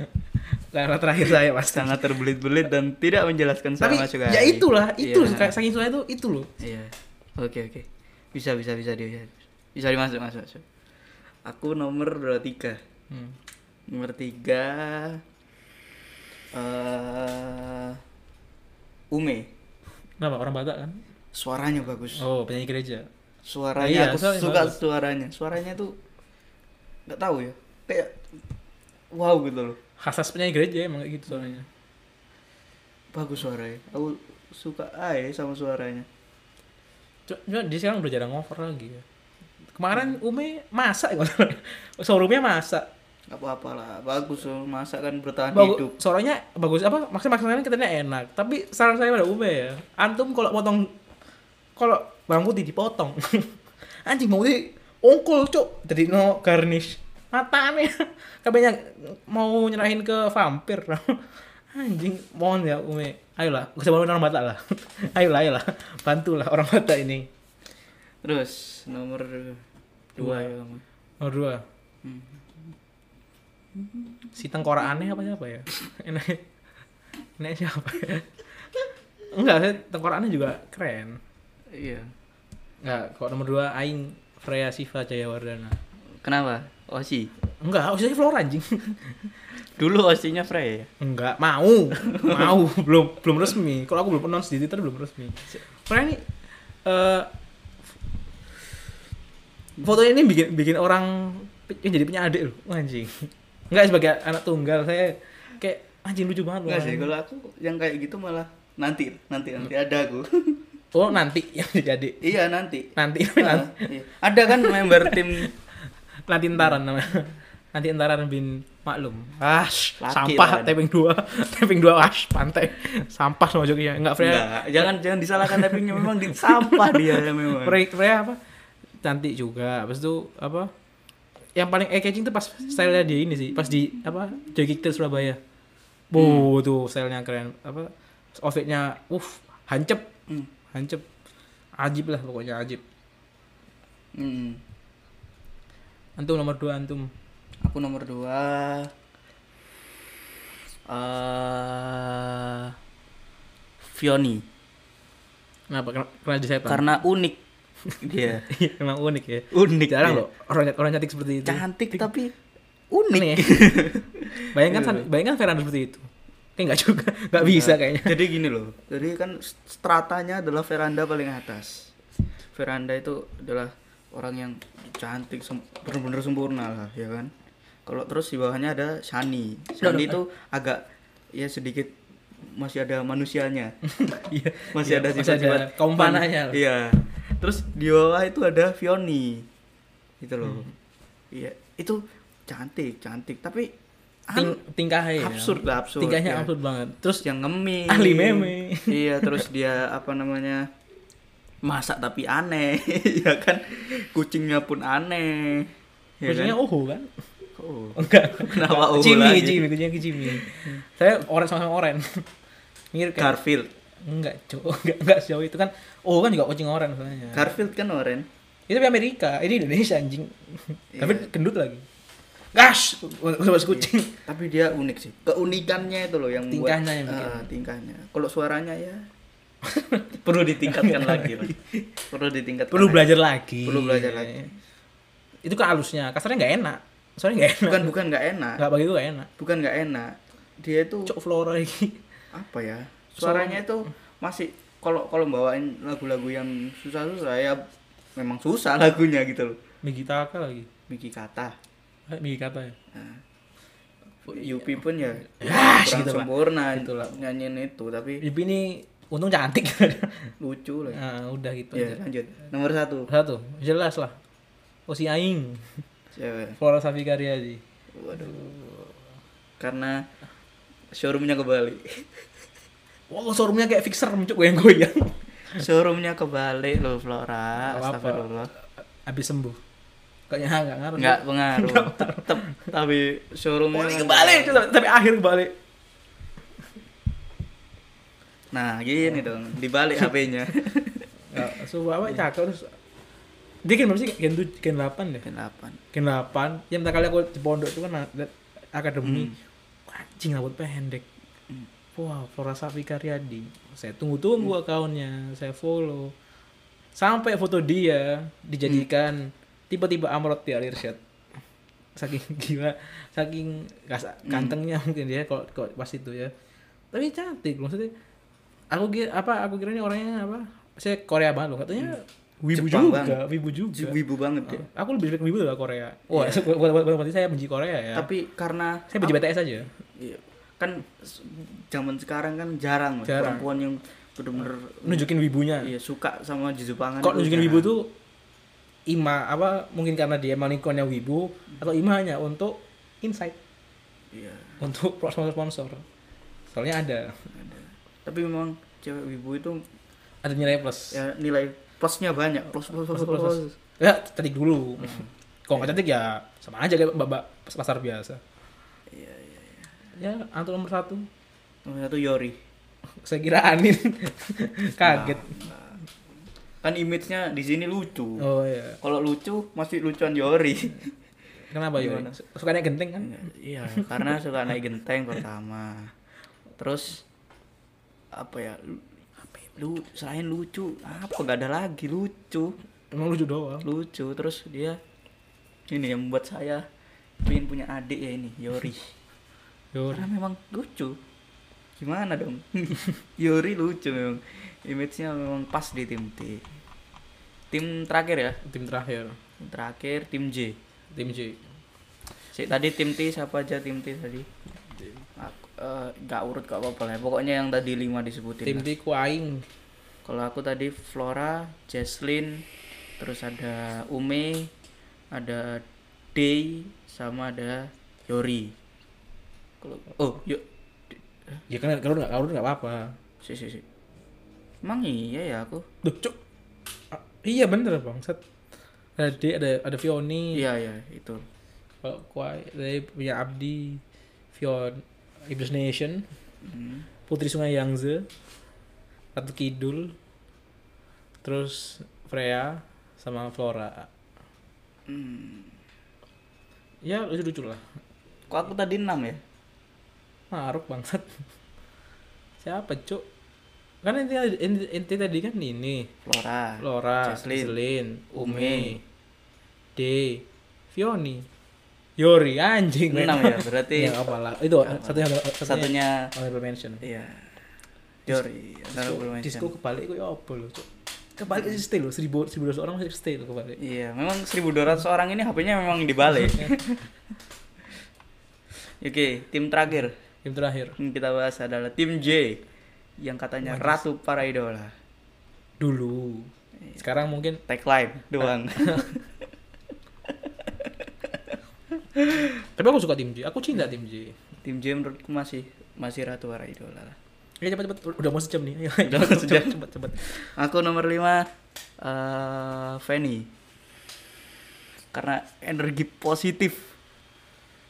[SPEAKER 1] *laughs* Lah, terakhir saya mas
[SPEAKER 2] sangat terbelit-belit dan tidak menjelaskan
[SPEAKER 1] tapi
[SPEAKER 2] sama sekali
[SPEAKER 1] ya itulah itu
[SPEAKER 2] Iya.
[SPEAKER 1] kayak saking susah itu itu loh
[SPEAKER 2] Iya. Oke oke. Bisa bisa bisa dia bisa. Bisa dimasuk masuk masuk. Aku nomor dua tiga.
[SPEAKER 1] Hmm.
[SPEAKER 2] Nomor tiga. eh Ume.
[SPEAKER 1] kenapa orang Batak kan
[SPEAKER 2] Suaranya bagus.
[SPEAKER 1] oh penyanyi gereja Iya,
[SPEAKER 2] Suaranya aku
[SPEAKER 1] suaranya
[SPEAKER 2] suka
[SPEAKER 1] bagus.
[SPEAKER 2] suaranya. Suaranya tuh nggak tahu ya. Kayak wow gitu loh.
[SPEAKER 1] khasas penyanyi gereja emang kayak gitu soalnya
[SPEAKER 2] Bagus suaranya. Aku suka aja sama suaranya.
[SPEAKER 1] Cu- cuma dia sekarang udah jarang ngover lagi ya
[SPEAKER 2] Hmm.
[SPEAKER 1] kemarin Ume masak *laughs* ya showroomnya masak
[SPEAKER 2] Gak apa-apalah. Bagus loh. Masa kan bertahan hidup.
[SPEAKER 1] Bagus, suaranya bagus apa maksud maksudnya katanya enak tapi saran saya pada Ume ya antum kalau potong kalau bawang putih dipotong *laughs* anjing mau putih ongkol cok jadi no garnish matanya *laughs* kabehnya mau nyerahin ke vampir *laughs* anjing mohon ya Ume ayolah bisa bantu orang Batak lah *laughs* ayolah ayolah bantulah orang Batak ini
[SPEAKER 2] Terus nomor dua ya kamu.
[SPEAKER 1] nomor Oh, dua
[SPEAKER 2] Hmm.
[SPEAKER 1] si tengkorak aneh apa siapa ya *laughs* enak enak siapa *laughs* ya enggak saya tengkorak aneh juga keren
[SPEAKER 2] Iya.
[SPEAKER 1] enggak kok nomor dua aing Freya Siva Jayawardana
[SPEAKER 2] Kenapa? Osi.
[SPEAKER 1] enggak oh, harusnya Flora anjing
[SPEAKER 2] Dulu Osinya Frey ya.
[SPEAKER 1] enggak
[SPEAKER 2] *laughs*
[SPEAKER 1] mau mau belum belum resmi kalau aku belum announce di Twitter belum resmi Freya ini eh foto ini bikin bikin orang pe- jadi punya adik loh anjing enggak sebagai anak tunggal saya kayak anjing lucu banget loh
[SPEAKER 2] Enggak sih, kalau aku yang kayak gitu malah nanti nanti nanti ada aku *laughs*
[SPEAKER 1] oh nanti *laughs* yang jadi
[SPEAKER 2] iya nanti
[SPEAKER 1] nanti
[SPEAKER 2] Ah, iya. ada kan member tim
[SPEAKER 1] nanti entaran namanya nanti entaran bin maklum ash
[SPEAKER 2] Laki
[SPEAKER 1] sampah
[SPEAKER 2] lah. kan.
[SPEAKER 1] taping dua *laughs* taping dua ash pantai sampah sama jokinya enggak Freya
[SPEAKER 2] Enggak, jangan jangan disalahkan tappingnya memang di sampah dia memang
[SPEAKER 1] Freya, Freya apa cantik juga habis itu apa yang paling eye catching tuh pas stylenya dia ini sih pas di apa joki Kick Surabaya
[SPEAKER 2] Hmm.
[SPEAKER 1] wow tuh stylenya keren apa outfitnya uff hancep
[SPEAKER 2] Hmm.
[SPEAKER 1] hancep ajib lah pokoknya ajib
[SPEAKER 2] Hmm.
[SPEAKER 1] antum nomor dua antum
[SPEAKER 2] aku nomor dua eh Fioni
[SPEAKER 1] kenapa Ken- kenapa di setan
[SPEAKER 2] karena unik dia
[SPEAKER 1] *laughs* Iya, emang unik ya
[SPEAKER 2] unik
[SPEAKER 1] jarang
[SPEAKER 2] dia.
[SPEAKER 1] loh orang orang cantik seperti itu
[SPEAKER 2] cantik tapi Iya. unik Iya,
[SPEAKER 1] Aneh *laughs* ya. bayangkan san- bayangkan Fernando seperti itu kayak nggak juga *laughs* nggak bisa kayaknya
[SPEAKER 2] jadi gini loh jadi kan stratanya adalah veranda paling atas veranda itu adalah orang yang cantik sem- bener-bener sempurna lah ya kan kalau terus di bawahnya ada Shani Shani itu agak ya sedikit masih ada
[SPEAKER 1] *laughs*
[SPEAKER 2] manusianya
[SPEAKER 1] Iya.
[SPEAKER 2] *laughs* masih
[SPEAKER 1] Iya,
[SPEAKER 2] ada
[SPEAKER 1] masih ada
[SPEAKER 2] sifat-sifat
[SPEAKER 1] kaum panahnya loh.
[SPEAKER 2] iya terus di bawah itu ada Vioni gitu loh
[SPEAKER 1] Hmm.
[SPEAKER 2] iya itu cantik cantik tapi
[SPEAKER 1] Ting,
[SPEAKER 2] an-
[SPEAKER 1] tingkahnya ya.
[SPEAKER 2] absurd lah absurd
[SPEAKER 1] tingkahnya
[SPEAKER 2] ya.
[SPEAKER 1] absurd banget terus
[SPEAKER 2] terus yang ngemis
[SPEAKER 1] Ahli meme.
[SPEAKER 2] iya terus dia apa namanya masak tapi aneh *laughs* ya kan kucingnya pun aneh ya
[SPEAKER 1] kucingnya
[SPEAKER 2] kan?
[SPEAKER 1] oho
[SPEAKER 2] *laughs*
[SPEAKER 1] kan
[SPEAKER 2] Oh.
[SPEAKER 1] enggak
[SPEAKER 2] Kenapa oho
[SPEAKER 1] Jimmy
[SPEAKER 2] lagi?
[SPEAKER 1] Jimmy kucingnya ke Jimmy saya oren sama oren *laughs* mirip kayak
[SPEAKER 2] Garfield
[SPEAKER 1] enggak cowok *laughs* enggak enggak sejauh itu kan oh kan juga kucing oren soalnya
[SPEAKER 2] Garfield kan oren
[SPEAKER 1] itu di Amerika ini Indonesia anjing
[SPEAKER 2] Iya.
[SPEAKER 1] tapi gendut lagi gas bahas kucing
[SPEAKER 2] tapi dia unik sih keunikannya itu loh yang membuat-
[SPEAKER 1] Tingkahnya yang bikin.
[SPEAKER 2] Ah, tingkahnya kalau suaranya
[SPEAKER 1] *laughs*
[SPEAKER 2] ya perlu *laughs* ditingkatkan lagi lah. perlu ditingkatkan
[SPEAKER 1] perlu
[SPEAKER 2] lagi.
[SPEAKER 1] belajar lagi
[SPEAKER 2] Perlu belajar lagi.
[SPEAKER 1] itu ke halusnya kasarnya nggak enak soalnya nggak enak
[SPEAKER 2] bukan bukan nggak enak
[SPEAKER 1] nggak bagi itu nggak enak
[SPEAKER 2] bukan nggak enak dia itu
[SPEAKER 1] cok flora lagi
[SPEAKER 2] apa ya suaranya itu
[SPEAKER 1] hmm.
[SPEAKER 2] masih kalau kalau bawain lagu-lagu yang susah-susah ya memang susah lagunya gitu loh
[SPEAKER 1] Migi Taka lagi
[SPEAKER 2] Miki kata
[SPEAKER 1] Eh, Migi kata ya Iya.
[SPEAKER 2] Yupi pun ya
[SPEAKER 1] Ya,
[SPEAKER 2] kurang
[SPEAKER 1] gitu lah.
[SPEAKER 2] sempurna
[SPEAKER 1] Gitu lah.
[SPEAKER 2] nyanyiin itu tapi
[SPEAKER 1] Ibi ini untung *laughs* cantik
[SPEAKER 2] lucu lah
[SPEAKER 1] nah, udah gitu aja.
[SPEAKER 2] ya lanjut nomor satu
[SPEAKER 1] satu jelas lah oh si Aing
[SPEAKER 2] cewek
[SPEAKER 1] Flora Safikaria sih
[SPEAKER 2] Waduh. Karena showroomnya ke Bali.
[SPEAKER 1] *laughs* wow showroomnya kayak fixer mencuk goyang goyang
[SPEAKER 2] showroomnya ke Bali loh
[SPEAKER 1] Nggak
[SPEAKER 2] Flora.
[SPEAKER 1] apa-apa.
[SPEAKER 2] Astagfirullah.
[SPEAKER 1] *laughs* habis sembuh kayaknya nggak ngaruh
[SPEAKER 2] Enggak
[SPEAKER 1] *laughs*
[SPEAKER 2] pengaruh. Tetep tapi
[SPEAKER 1] oh,
[SPEAKER 2] showroomnya
[SPEAKER 1] ini
[SPEAKER 2] ke
[SPEAKER 1] kebalik
[SPEAKER 2] Bali.
[SPEAKER 1] tapi tapi akhir kebalik
[SPEAKER 2] Nah, gini dong. Di Bali
[SPEAKER 1] *laughs*
[SPEAKER 2] HP-nya.
[SPEAKER 1] Ya, so apa cakep terus dia kan berapa sih gen tuj- gen 8 deh
[SPEAKER 2] Delapan.
[SPEAKER 1] gen 8 yang pertama kali aku di pondok itu kan ada- akademi
[SPEAKER 2] Hmm.
[SPEAKER 1] anjing rambut pendek wow Flora Safika Riyadi saya tunggu-tunggu
[SPEAKER 2] Hmm.
[SPEAKER 1] akunnya saya follow sampai foto dia
[SPEAKER 2] Hmm.
[SPEAKER 1] dijadikan tiba-tiba amrot di Alirsyad saking *laughs* gila saking kas-
[SPEAKER 2] Hmm.
[SPEAKER 1] gantengnya mungkin dia kalau kalau pas itu ya tapi cantik maksudnya aku kira apa aku kira ini orangnya apa saya Korea banget loh katanya wibu
[SPEAKER 2] Hmm. Jepang
[SPEAKER 1] juga
[SPEAKER 2] banget.
[SPEAKER 1] wibu juga Oh,
[SPEAKER 2] Wibu banget ya. dia.
[SPEAKER 1] Aku lebih respect Wibu daripada Korea. Iya. Wah, *laughs* bukan bukan- bukan berarti saya benci Korea ya.
[SPEAKER 2] Tapi karena
[SPEAKER 1] saya benci BTS aja.
[SPEAKER 2] iya, kan s- zaman sekarang kan jarang, lah
[SPEAKER 1] Jarang.
[SPEAKER 2] perempuan yang benar-benar
[SPEAKER 1] Nunjukin wibunya.
[SPEAKER 2] iya, suka sama jejepangan.
[SPEAKER 1] Kok
[SPEAKER 2] itu
[SPEAKER 1] nunjukin kan.
[SPEAKER 2] jarang.
[SPEAKER 1] wibu tuh Ima apa mungkin karena dia emang ikonnya wibu atau Ima hanya untuk insight
[SPEAKER 2] Iya.
[SPEAKER 1] untuk sponsor-sponsor. Soalnya ada
[SPEAKER 2] Tapi memang cewek wibu itu
[SPEAKER 1] ada nilai plus. Ya,
[SPEAKER 2] ya, nilai plusnya banyak. Plus plus plus.
[SPEAKER 1] Plus, plus,
[SPEAKER 2] plus.
[SPEAKER 1] plus. Hmm. ya cantik dulu. Kalau nggak cantik ya sama aja kayak mbak-mbak pas pasar biasa. Iya, iya, iya. Ya, antum nomor satu. *laughs*
[SPEAKER 2] Nomor satu Yori.
[SPEAKER 1] Saya kira *laughs* Anin kaget.
[SPEAKER 2] Kan image-nya di sini lucu.
[SPEAKER 1] Oh iya.
[SPEAKER 2] Kalau lucu masih lucuan
[SPEAKER 1] *laughs*
[SPEAKER 2] Yori.
[SPEAKER 1] Kenapa Yuri?
[SPEAKER 2] Gimana?
[SPEAKER 1] Sukanya genteng kan?
[SPEAKER 2] iya, karena suka naik genteng pertama. Terus apa ya? lu- Apa ya? Lu selain lucu, apa gak ada lagi lucu.
[SPEAKER 1] Emang lucu doang.
[SPEAKER 2] Lucu terus dia ini yang membuat saya pengen punya adik ya ini, Yori.
[SPEAKER 1] Yuri.
[SPEAKER 2] Karena memang lucu. Gimana dong? *laughs* Yori lucu memang. Image-nya memang pas di tim T. Tim terakhir ya?
[SPEAKER 1] Tim terakhir.
[SPEAKER 2] Tim terakhir tim J.
[SPEAKER 1] Tim J.
[SPEAKER 2] Si tadi tim T siapa aja tim T tadi? Aku, eh, nggak urut gak apa-apa lah ya. pokoknya yang tadi lima disebutin
[SPEAKER 1] tim
[SPEAKER 2] lah.
[SPEAKER 1] D ku aing
[SPEAKER 2] kalau aku tadi Flora Jaslyn terus ada Ume ada Day sama ada Yori kalau oh yuk
[SPEAKER 1] ya kan kalau nggak kalau nggak apa-apa
[SPEAKER 2] si si si emang iya ya aku
[SPEAKER 1] Duh, cuk. Ah, iya bener bangsat. Ada D, ada ada Vioni.
[SPEAKER 2] iya iya itu
[SPEAKER 1] Kalau Kuai dari punya Abdi, Vion, Iblis Nation,
[SPEAKER 2] Hmm.
[SPEAKER 1] Putri Sungai Yangtze, Ratu Kidul, terus Freya sama Flora.
[SPEAKER 2] Hmm.
[SPEAKER 1] Ya lucu-lucu lah.
[SPEAKER 2] kok aku tadi enam ya
[SPEAKER 1] Maruk bangsat. *laughs* Siapa cuk? Kan inti, inti, inti tadi kan ini
[SPEAKER 2] Flora
[SPEAKER 1] Flora,
[SPEAKER 2] Jaslyn,
[SPEAKER 1] Jaslyn, Ume,
[SPEAKER 2] Ah, Ume.
[SPEAKER 1] D, Vioni, Yori anjing. men.
[SPEAKER 2] enam *laughs* ya berarti
[SPEAKER 1] Ya nggak apalah. Itu satu yang satunya
[SPEAKER 2] satunya
[SPEAKER 1] honorable mention.
[SPEAKER 2] iya Yori honorable mention.
[SPEAKER 1] Disco kebalik ku ya apa lho, Cuk? Kebalik sih stay lho, 1000 1200 orang masih stay lho kebalik.
[SPEAKER 2] Iya, memang 1200 orang ini HP-nya memang
[SPEAKER 1] *laughs*
[SPEAKER 2] dibalik. Oke, tim terakhir
[SPEAKER 1] Game terakhir.
[SPEAKER 2] yang kita bahas adalah tim J yang katanya ratu para idola.
[SPEAKER 1] Dulu.
[SPEAKER 2] Iya.
[SPEAKER 1] Sekarang mungkin
[SPEAKER 2] Tagline doang. *laughs*
[SPEAKER 1] tapi aku suka tim J. Aku cinta tim J.
[SPEAKER 2] tim J menurutku masih masih ratu para idola lah.
[SPEAKER 1] Ya cepet cepet udah mau sejam nih. Ayo,
[SPEAKER 2] Udah mau
[SPEAKER 1] *laughs*
[SPEAKER 2] sejam.
[SPEAKER 1] cepet cepet.
[SPEAKER 2] Aku nomor 5 eh Fanny. Karena energi positif.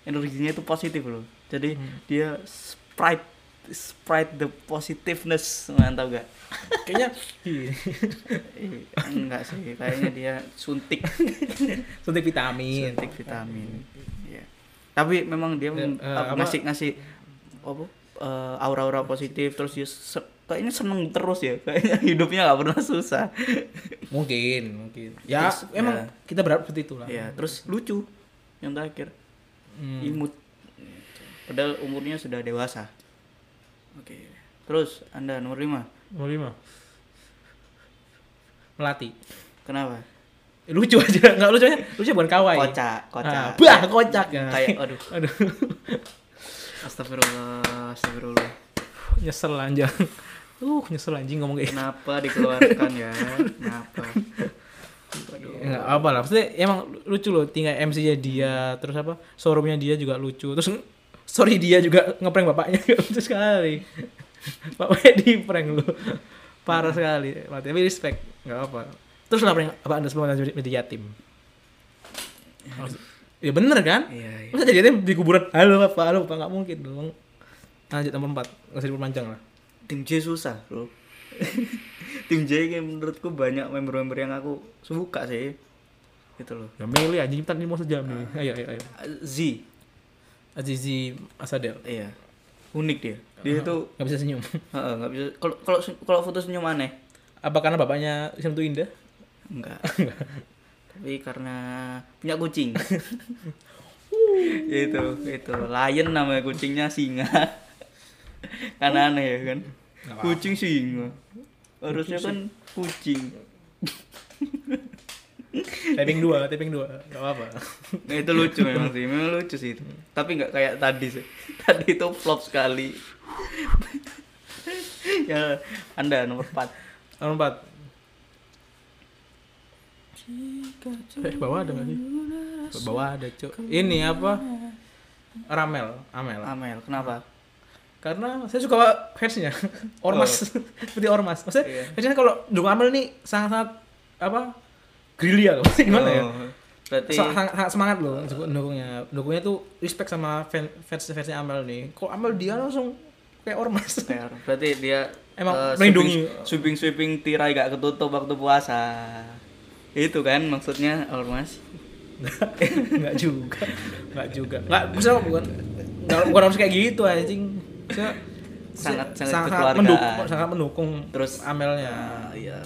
[SPEAKER 2] Energinya itu positif loh. Jadi
[SPEAKER 1] Hmm.
[SPEAKER 2] dia sprite sprite the positiveness, mantap gak? *laughs*
[SPEAKER 1] Kayaknya iya.
[SPEAKER 2] Ih, enggak sih kayaknya dia suntik
[SPEAKER 1] suntik vitamin.
[SPEAKER 2] suntik vitamin Iya. tapi memang dia
[SPEAKER 1] Ya,
[SPEAKER 2] mem-
[SPEAKER 1] eh,
[SPEAKER 2] apa,
[SPEAKER 1] apa-
[SPEAKER 2] ngasih ngasih apa eh, aura-aura positif terus dia se- kayaknya seneng terus ya kayaknya *laughs* hidupnya nggak pernah susah
[SPEAKER 1] Mungkin, mungkin. Ya,
[SPEAKER 2] Terus,
[SPEAKER 1] emang
[SPEAKER 2] ya.
[SPEAKER 1] kita berharap seperti itulah.
[SPEAKER 2] ya terus lucu yang terakhir
[SPEAKER 1] Hmm.
[SPEAKER 2] imut padahal umurnya sudah dewasa oke terus anda nomor 5
[SPEAKER 1] Nomor lima. Melati.
[SPEAKER 2] kenapa
[SPEAKER 1] Eh, Lucu aja, *laughs* enggak lucu aja. Lucu bukan kawaii.
[SPEAKER 2] kocak
[SPEAKER 1] Ah,
[SPEAKER 2] kocak
[SPEAKER 1] bah, kocak. Nah.
[SPEAKER 2] kayak aduh
[SPEAKER 1] *laughs* Aduh,
[SPEAKER 2] astagfirullah astagfirullah
[SPEAKER 1] nyesel anjing. *laughs* Uh, nyesel anjing ngomong kayak gitu.
[SPEAKER 2] Kenapa dikeluarkan ya? Kenapa?
[SPEAKER 1] Enggak Ya, apa lah. Maksudnya emang lucu loh tinggal MC-nya dia, terus apa? Showroomnya dia juga lucu. Terus sorry dia juga ngeprank bapaknya *laughs* lucu sekali. bapaknya di prank lo. *laughs* Parah sekali. Mati. Tapi respect, enggak apa. Terus lah prank apa Anda sebelum Anda jadi yatim? Ya bener kan?
[SPEAKER 2] Iya, iya.
[SPEAKER 1] Masa jadi yatim di kuburan? Halo Bapak, halo Bapak, enggak mungkin dong. Nah, Lanjut nomor 4. Enggak usah diperpanjang lah.
[SPEAKER 2] Tim J susah, Bro. *laughs* Tim J ini menurutku banyak member-member yang aku suka sih. Gitu loh.
[SPEAKER 1] Ya milih anjing tadi mau sejam nih. Ayo ayo ayo.
[SPEAKER 2] Z,
[SPEAKER 1] iya, Azizi Asadel.
[SPEAKER 2] iya. Unik dia. Dia itu
[SPEAKER 1] Gak bisa senyum.
[SPEAKER 2] heeh, nggak bisa kalau kalau sen- kalau foto senyum aneh.
[SPEAKER 1] Apa karena bapaknya Isam tuh indah? *laughs*
[SPEAKER 2] Enggak. Tapi karena punya kucing. itu, itu. Lion namanya kucingnya singa. *laughs* kan aneh ya kan?
[SPEAKER 1] apa-apa.
[SPEAKER 2] Kucing singa. Harusnya kan kucing.
[SPEAKER 1] taping dua, taping dua. Gak apa-apa.
[SPEAKER 2] Nah, itu lucu memang sih, memang lucu sih itu. Tapi nggak kayak tadi sih. *laughs* Tadi itu flop sekali. *laughs* ya, Anda nomor 4.
[SPEAKER 1] Nomor empat. Eh, bawah ada gak sih? Bawah ada, Cuk. Ini apa? Ramel, Amel.
[SPEAKER 2] Amel, kenapa?
[SPEAKER 1] Karena saya suka *laughs* fansnya. Ormas. Seperti Ormas. Maksudnya,
[SPEAKER 2] Iya.
[SPEAKER 1] fansnya kalau dukung Amel nih sangat-sangat apa? Grilia loh. *laughs* Maksudnya Gimana ya?
[SPEAKER 2] Oh, Berarti
[SPEAKER 1] So- sangat, sangat semangat loh suku- dukungnya dukungnya tuh respect sama fan fans fansnya Amel nih kalau Amel dia langsung kayak ormas
[SPEAKER 2] Ter. Berarti dia
[SPEAKER 1] Emang
[SPEAKER 2] eh,
[SPEAKER 1] melindungi.
[SPEAKER 2] sweeping, sweeping tirai gak ketutup waktu puasa. Itu kan maksudnya ormas.
[SPEAKER 1] *laughs* nggak juga nggak juga nggak bisa bukan nggak- bukan harus kayak gitu anjing Maksudnya-
[SPEAKER 2] Sangat-
[SPEAKER 1] maksudnya
[SPEAKER 2] sangat
[SPEAKER 1] sangat
[SPEAKER 2] kekeluargaan.
[SPEAKER 1] mendukung sangat mendukung
[SPEAKER 2] Terus
[SPEAKER 1] Amelnya
[SPEAKER 2] Ah, iya.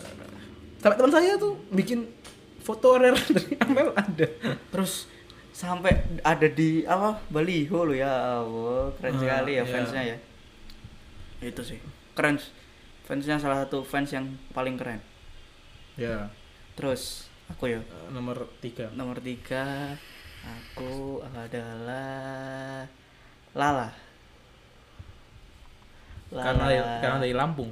[SPEAKER 1] sampai teman saya tuh bikin foto rare *laughs* dari Amel ada
[SPEAKER 2] Terus sampai ada di apa baliho lo ya Allah keren
[SPEAKER 1] Ah,
[SPEAKER 2] sekali ya
[SPEAKER 1] iya.
[SPEAKER 2] fansnya ya itu sih keren fansnya salah satu fans yang paling keren
[SPEAKER 1] ya
[SPEAKER 2] terus aku ya
[SPEAKER 1] nomor tiga
[SPEAKER 2] nomor tiga aku adalah Lala Lah,
[SPEAKER 1] karena ya,
[SPEAKER 2] lah, lah.
[SPEAKER 1] karena dari Lampung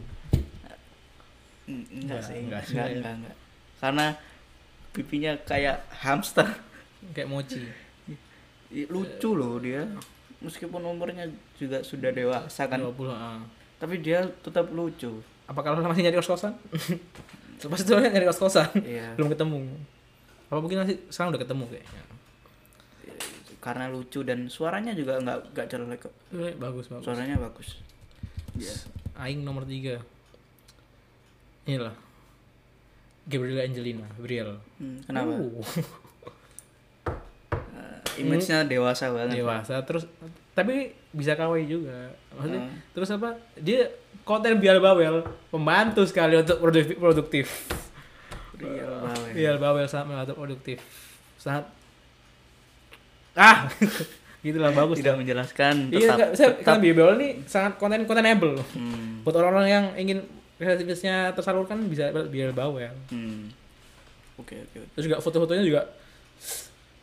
[SPEAKER 2] Mm, enggak
[SPEAKER 1] Enggak,
[SPEAKER 2] sih
[SPEAKER 1] enggak
[SPEAKER 2] enggak
[SPEAKER 1] sih.
[SPEAKER 2] enggak, enggak, enggak. karena pipinya kayak hamster
[SPEAKER 1] kayak mochi Iya.
[SPEAKER 2] I- lucu loh dia meskipun umurnya juga sudah dewasa kan
[SPEAKER 1] 20 ah.
[SPEAKER 2] tapi dia tetap
[SPEAKER 1] *laughs*
[SPEAKER 2] lucu
[SPEAKER 1] apa kalau masih nyari kos *laughs* kosan pasti tuh nyari kos kosan
[SPEAKER 2] iya
[SPEAKER 1] belum ketemu apa mungkin nanti sekarang udah ketemu kayaknya
[SPEAKER 2] karena lucu dan suaranya juga nggak nggak jelek kok
[SPEAKER 1] Eh, bagus bagus
[SPEAKER 2] suaranya bagus Iya.
[SPEAKER 1] Aing nomor tiga inilah Gabriela Angelina Gabriel
[SPEAKER 2] Hmm, kenapa Eh,
[SPEAKER 1] Uh, Hmm.
[SPEAKER 2] image-nya dewasa banget
[SPEAKER 1] dewasa terus tapi bisa kawaii juga maksudnya
[SPEAKER 2] Hmm.
[SPEAKER 1] terus apa dia konten biar bawel membantu sekali untuk produktif produktif
[SPEAKER 2] Iya, Bawel.
[SPEAKER 1] biar bawel sangat membantu produktif sangat ah *laughs* gitulah bagus
[SPEAKER 2] tidak menjelaskan
[SPEAKER 1] iya
[SPEAKER 2] tetap
[SPEAKER 1] nggak saya
[SPEAKER 2] tetap
[SPEAKER 1] karena biar bawel ini sangat konten kontenable
[SPEAKER 2] Hmm,
[SPEAKER 1] buat orang-orang yang ingin kreativitasnya tersalurkan bisa biar bawel
[SPEAKER 2] hmm. oke oke oke.
[SPEAKER 1] terus juga foto-fotonya juga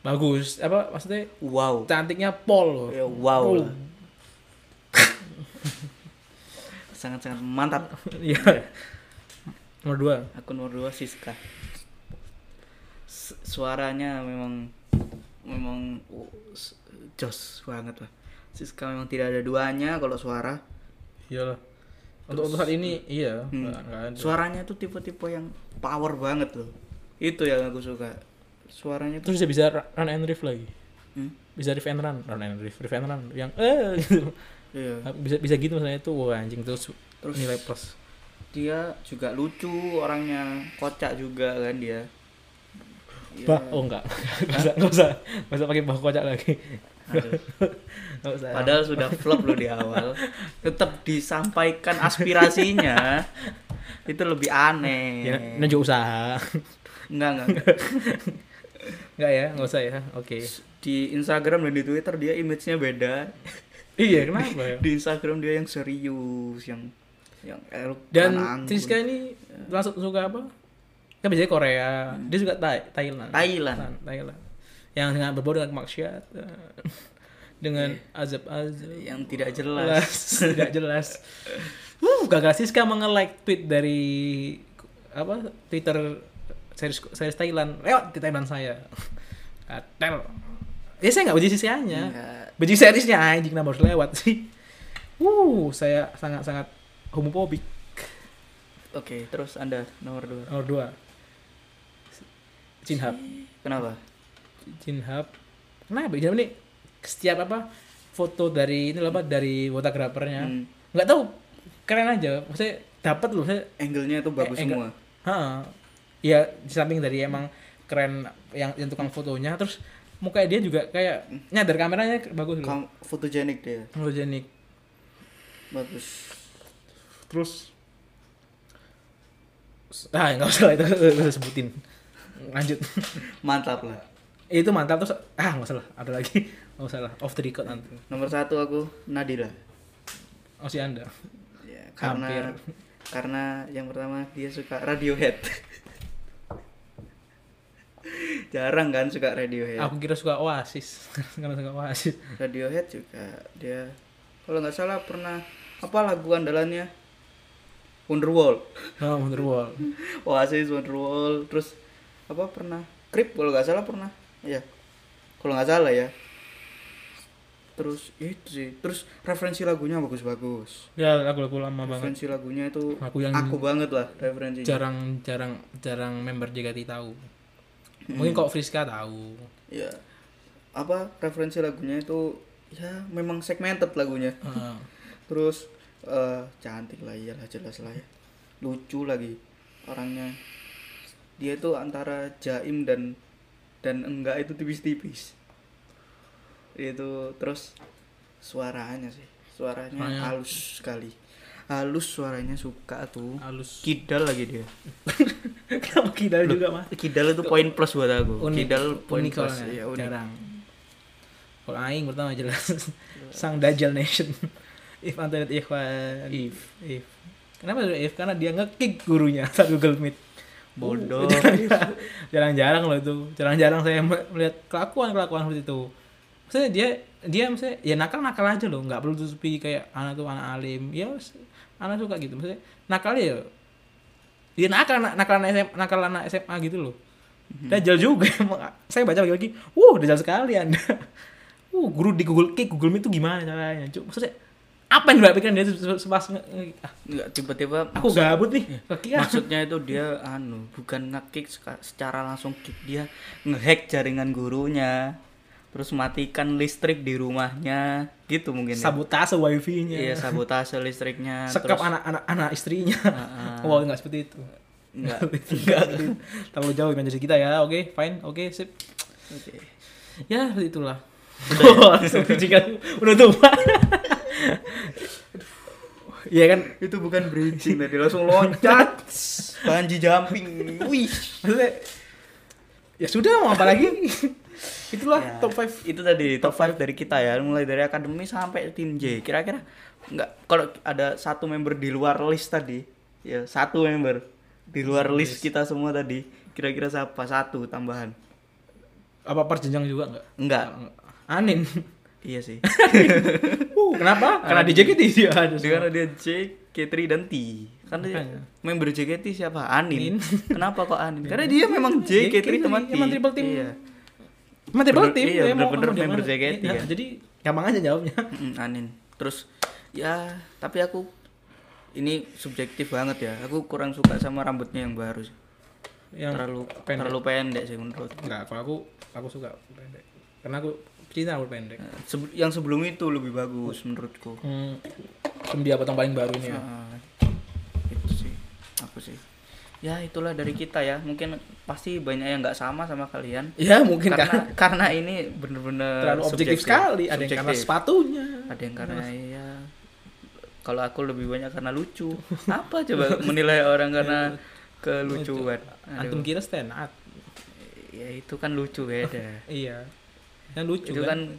[SPEAKER 1] bagus apa maksudnya
[SPEAKER 2] wow
[SPEAKER 1] cantiknya pol loh
[SPEAKER 2] Ya, wow *laughs*
[SPEAKER 1] Oh.
[SPEAKER 2] lah. sangat sangat mantap
[SPEAKER 1] Iya. Nomor dua.
[SPEAKER 2] aku nomor dua Siska S- suaranya memang memang oh, s- jos banget lah Siska memang tidak ada duanya kalau suara
[SPEAKER 1] Iyalah. Untuk untuk saat ini iya.
[SPEAKER 2] Hmm.
[SPEAKER 1] nggak- nggak ada.
[SPEAKER 2] suaranya tuh tipe-tipe yang power banget loh itu yang aku suka suaranya tuh
[SPEAKER 1] Terus dia bisa ra- run and riff lagi.
[SPEAKER 2] Hmm,
[SPEAKER 1] Bisa riff and run, run and riff, riff and run yang eh gitu. *laughs*
[SPEAKER 2] iya.
[SPEAKER 1] Bisa bisa gitu maksudnya itu wah anjing terus,
[SPEAKER 2] Terus-
[SPEAKER 1] nilai plus.
[SPEAKER 2] dia juga lucu orangnya kocak juga kan dia Iya.
[SPEAKER 1] Bah, oh *laughs* enggak. Enggak usah, enggak usah. Enggak usah pakai bah kocak lagi. *laughs*
[SPEAKER 2] Aduh.
[SPEAKER 1] Enggak usah.
[SPEAKER 2] Padahal sudah flop loh di awal, tetap disampaikan aspirasinya. itu lebih aneh.
[SPEAKER 1] ya, nunjuk
[SPEAKER 2] *laughs*
[SPEAKER 1] usaha.
[SPEAKER 2] Enggak, enggak. enggak.
[SPEAKER 1] Enggak ya, enggak usah ya. Oke.
[SPEAKER 2] Di Instagram dan di Twitter dia image-nya beda.
[SPEAKER 1] Iya, kenapa ya?
[SPEAKER 2] Di Instagram dia yang serius, yang yang elok, anak
[SPEAKER 1] Dan kan-
[SPEAKER 2] anggun.
[SPEAKER 1] Triska ini langsung suka apa? Kan biasanya Korea, dia suka Thai, Thailand.
[SPEAKER 2] Hmm. Thailand.
[SPEAKER 1] Thailand. Yang dengan berbau dengan kemaksiat, eh, *laughs* dengan azab-azab.
[SPEAKER 2] Iya. yang tidak jelas.
[SPEAKER 1] tidak
[SPEAKER 2] *laughs*
[SPEAKER 1] jelas. Uh, gagal Siska menge-like tweet dari apa Twitter series, series Thailand. Lewat di Thailand saya. *laughs* Katel. Ya saya nggak benci
[SPEAKER 2] Iya.
[SPEAKER 1] Siskanya.
[SPEAKER 2] Enggak.
[SPEAKER 1] Benci seriesnya anjing kenapa harus lewat sih. Wuh, saya sangat-sangat homofobik.
[SPEAKER 2] Oke, terus Anda nomor dua
[SPEAKER 1] Nomor dua Jinhab.
[SPEAKER 2] Kenapa?
[SPEAKER 1] Jinhab. Kenapa Jinhab ini setiap apa foto dari ini loh apa dari fotografernya.
[SPEAKER 2] Hmm,
[SPEAKER 1] Enggak tahu keren aja. Maksudnya dapat loh saya
[SPEAKER 2] angle-nya itu bagus
[SPEAKER 1] Eh, enggak.
[SPEAKER 2] semua.
[SPEAKER 1] ha. Ya di samping dari emang keren yang, yang tukang fotonya terus mukanya dia juga kayak nyadar kameranya bagus loh.
[SPEAKER 2] Kam- fotogenik dia.
[SPEAKER 1] Fotogenik.
[SPEAKER 2] Bagus.
[SPEAKER 1] Terus ah nggak usah lah, itu *laughs* nggak usah sebutin. Lanjut.
[SPEAKER 2] Mantap lah.
[SPEAKER 1] Eh, itu mantap terus ah nggak salah ada lagi *laughs* nggak salah off the record nanti
[SPEAKER 2] Nomor satu aku Nadila.
[SPEAKER 1] oh si anda
[SPEAKER 2] Ya, karena
[SPEAKER 1] Hampir.
[SPEAKER 2] karena yang pertama dia suka Radiohead. Jarang kan suka Radiohead.
[SPEAKER 1] aku kira suka oasis *laughs* karena suka
[SPEAKER 2] *laughs*
[SPEAKER 1] oasis
[SPEAKER 2] Radiohead juga dia kalau nggak salah pernah apa lagu andalannya Wonderwall.
[SPEAKER 1] oh Wonderwall
[SPEAKER 2] Oasis Wonderwall terus apa pernah Creep kalau nggak salah pernah. Ya. Kalau nggak salah ya. Terus itu sih. Terus referensi lagunya bagus-bagus.
[SPEAKER 1] ya lagu-lagu lama banget
[SPEAKER 2] referensi lagunya itu
[SPEAKER 1] Lagu
[SPEAKER 2] aku,
[SPEAKER 1] yang
[SPEAKER 2] banget lah referensinya
[SPEAKER 1] jarang jarang jarang member JKT tahu
[SPEAKER 2] Hmm.
[SPEAKER 1] mungkin kok Friska tahu
[SPEAKER 2] ya apa referensi lagunya itu ya memang segmented lagunya
[SPEAKER 1] Heeh.
[SPEAKER 2] terus eh, cantik lah iyalah jelas lah ya lucu lagi orangnya dia itu antara jaim dan dan enggak itu tipis-tipis itu terus suaranya sih suaranya
[SPEAKER 1] Suaranya.
[SPEAKER 2] halus sekali halus suaranya suka tuh
[SPEAKER 1] halus
[SPEAKER 2] kidal lagi dia
[SPEAKER 1] *laughs* kenapa kita juga mas
[SPEAKER 2] Kidal itu poin plus buat aku.
[SPEAKER 1] unik
[SPEAKER 2] Kidal poin
[SPEAKER 1] unik
[SPEAKER 2] plus.
[SPEAKER 1] soalnya,
[SPEAKER 2] Ya, unik. Iya.
[SPEAKER 1] jarang kalau Aing pertama jelas sang Dajjal Nation *laughs* if Antonet Ikhwan
[SPEAKER 2] If.
[SPEAKER 1] if kenapa sudah if karena dia ngekick gurunya *laughs* saat Google Meet
[SPEAKER 2] *laughs* Bodoh.
[SPEAKER 1] Itu jarang-jarang loh itu jarang-jarang saya me- melihat kelakuan kelakuan seperti itu maksudnya dia dia maksudnya ya nakal nakal aja loh nggak perlu tutupi kayak anak tuh anak alim ya wes, anak suka gitu maksudnya nakal ya dia nakal na- nakal anak SMA, nakal anak SMA gitu loh Dajal juga *laughs* emang. saya baca lagi-lagi wow dajal *laughs* sekali anda wow guru di Google Kick Google Meet itu gimana caranya Cuk, maksudnya apa yang dipikiran dia se- se- pas nge- nge- ah,
[SPEAKER 2] Nggak, tiba-tiba
[SPEAKER 1] aku gabut nih kaki ah.
[SPEAKER 2] maksudnya itu dia anu bukan ngekick seka- secara langsung kick dia ngehack jaringan gurunya terus matikan listrik di rumahnya gitu mungkin ya.
[SPEAKER 1] sabotase wifi-nya
[SPEAKER 2] iya sabotase listriknya
[SPEAKER 1] sekap
[SPEAKER 2] terus
[SPEAKER 1] anak-anak anak istrinya
[SPEAKER 2] *laughs* Ah, ah.
[SPEAKER 1] wow nggak seperti itu
[SPEAKER 2] Nggak.
[SPEAKER 1] *laughs* Nggak seperti itu. terlalu jauh imajinasi kita ya oke fine oke sip
[SPEAKER 2] Oke.
[SPEAKER 1] ya seperti itulah
[SPEAKER 2] ya.
[SPEAKER 1] langsung bridging-an.
[SPEAKER 2] *laughs*
[SPEAKER 1] penutupan Iya kan
[SPEAKER 2] itu bukan bridging tadi langsung loncat banji jumping wih
[SPEAKER 1] maksudnya ya sudah mau apa
[SPEAKER 2] *laughs*
[SPEAKER 1] lagi itulah
[SPEAKER 2] Ya,
[SPEAKER 1] top 5
[SPEAKER 2] itu tadi top 5 dari kita ya mulai dari akademi sampai tim J kira-kira nggak kalau ada satu member di luar list tadi ya satu member di luar list kita semua tadi kira-kira siapa satu tambahan
[SPEAKER 1] apa perjenjang juga enggak
[SPEAKER 2] enggak *laughs*
[SPEAKER 1] Anin
[SPEAKER 2] iya sih
[SPEAKER 1] uh, kenapa karena di JKT dia harus
[SPEAKER 2] karena dia J K3 dan T kan dia
[SPEAKER 1] Makanya.
[SPEAKER 2] member JKT siapa
[SPEAKER 1] Anin.
[SPEAKER 2] Anin *laughs* kenapa kok Anin karena dia memang J K3
[SPEAKER 1] Iya,
[SPEAKER 2] teman
[SPEAKER 1] emang triple team.
[SPEAKER 2] iya.
[SPEAKER 1] emang triple
[SPEAKER 2] Bener-
[SPEAKER 1] team
[SPEAKER 2] iya,
[SPEAKER 1] ya, mau-
[SPEAKER 2] bener-bener
[SPEAKER 1] mau dia
[SPEAKER 2] member
[SPEAKER 1] mana.
[SPEAKER 2] JKT,
[SPEAKER 1] Iya,
[SPEAKER 2] ya.
[SPEAKER 1] jadi gampang aja jawabnya
[SPEAKER 2] Mm, Anin. Terus ya tapi aku ini subjektif banget ya. Aku kurang suka sama rambutnya yang baru. sih.
[SPEAKER 1] yang
[SPEAKER 2] terlalu
[SPEAKER 1] pendek.
[SPEAKER 2] terlalu pendek sih menurut.
[SPEAKER 1] enggak kalau aku aku suka pendek karena aku cinta rambut pendek
[SPEAKER 2] Eh, sebe- yang sebelum itu lebih bagus menurutku.
[SPEAKER 1] hmm, sebelum dia potong paling baru ini ya
[SPEAKER 2] Ah, itu sih aku sih. Ya itulah dari kita ya. Mungkin pasti banyak yang nggak sama sama kalian.
[SPEAKER 1] ya mungkin karena
[SPEAKER 2] Karena *laughs* karena ini bener-bener
[SPEAKER 1] terlalu objektif sekali ada yang karena
[SPEAKER 2] Subjektif.
[SPEAKER 1] sepatunya
[SPEAKER 2] ada yang karena ya kalau aku lebih banyak karena lucu apa coba menilai orang
[SPEAKER 1] *laughs*
[SPEAKER 2] karena kelucuan
[SPEAKER 1] Nah, antum
[SPEAKER 2] Aduh,
[SPEAKER 1] kira stand out
[SPEAKER 2] ya itu kan lucu beda
[SPEAKER 1] iya yang lucu
[SPEAKER 2] itu
[SPEAKER 1] *laughs* kan,
[SPEAKER 2] kan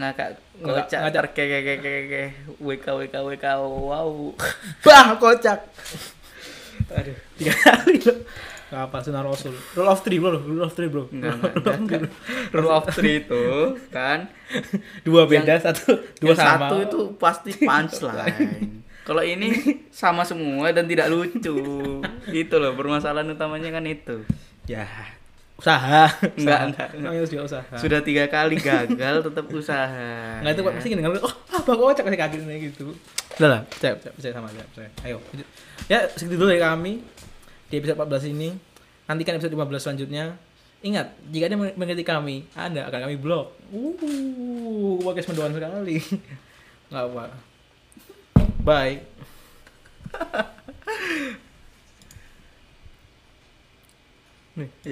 [SPEAKER 2] ngakak
[SPEAKER 1] Ngakak-
[SPEAKER 2] kocak
[SPEAKER 1] ngakak.
[SPEAKER 2] terkekekekeke wk wk wk
[SPEAKER 1] *laughs*
[SPEAKER 2] wow
[SPEAKER 1] bah
[SPEAKER 2] *laughs*
[SPEAKER 1] kocak aduh tiga kali loh Gak apa sunnah rasul rule of three bro rule of three bro *laughs*
[SPEAKER 2] enggak enggak, enggak, enggak. rule of three itu kan
[SPEAKER 1] dua beda satu dua
[SPEAKER 2] yang
[SPEAKER 1] sama
[SPEAKER 2] satu itu pasti
[SPEAKER 1] *laughs*
[SPEAKER 2] punchline kalau ini sama semua dan tidak lucu itu loh permasalahan utamanya kan itu
[SPEAKER 1] ya usaha
[SPEAKER 2] Enggak,
[SPEAKER 1] Usaha.
[SPEAKER 2] enggak, enggak.
[SPEAKER 1] Namanya harus juga usaha
[SPEAKER 2] sudah tiga kali gagal tetap usaha
[SPEAKER 1] Nggak itu kok
[SPEAKER 2] ya.
[SPEAKER 1] pasti gini oh apa kocak kayak kaget kayak gitu. Udah lah, percaya, percaya, percaya sama aja, percaya. Ayo. lanjut. Ya, segitu dulu dari kami di episode 14 ini. Nantikan episode 15 selanjutnya. Ingat, jika Anda meng- mengkritik kami, Anda akan kami blok. Uh, podcast mendoan sekali. *laughs* Enggak apa. Bye. *laughs*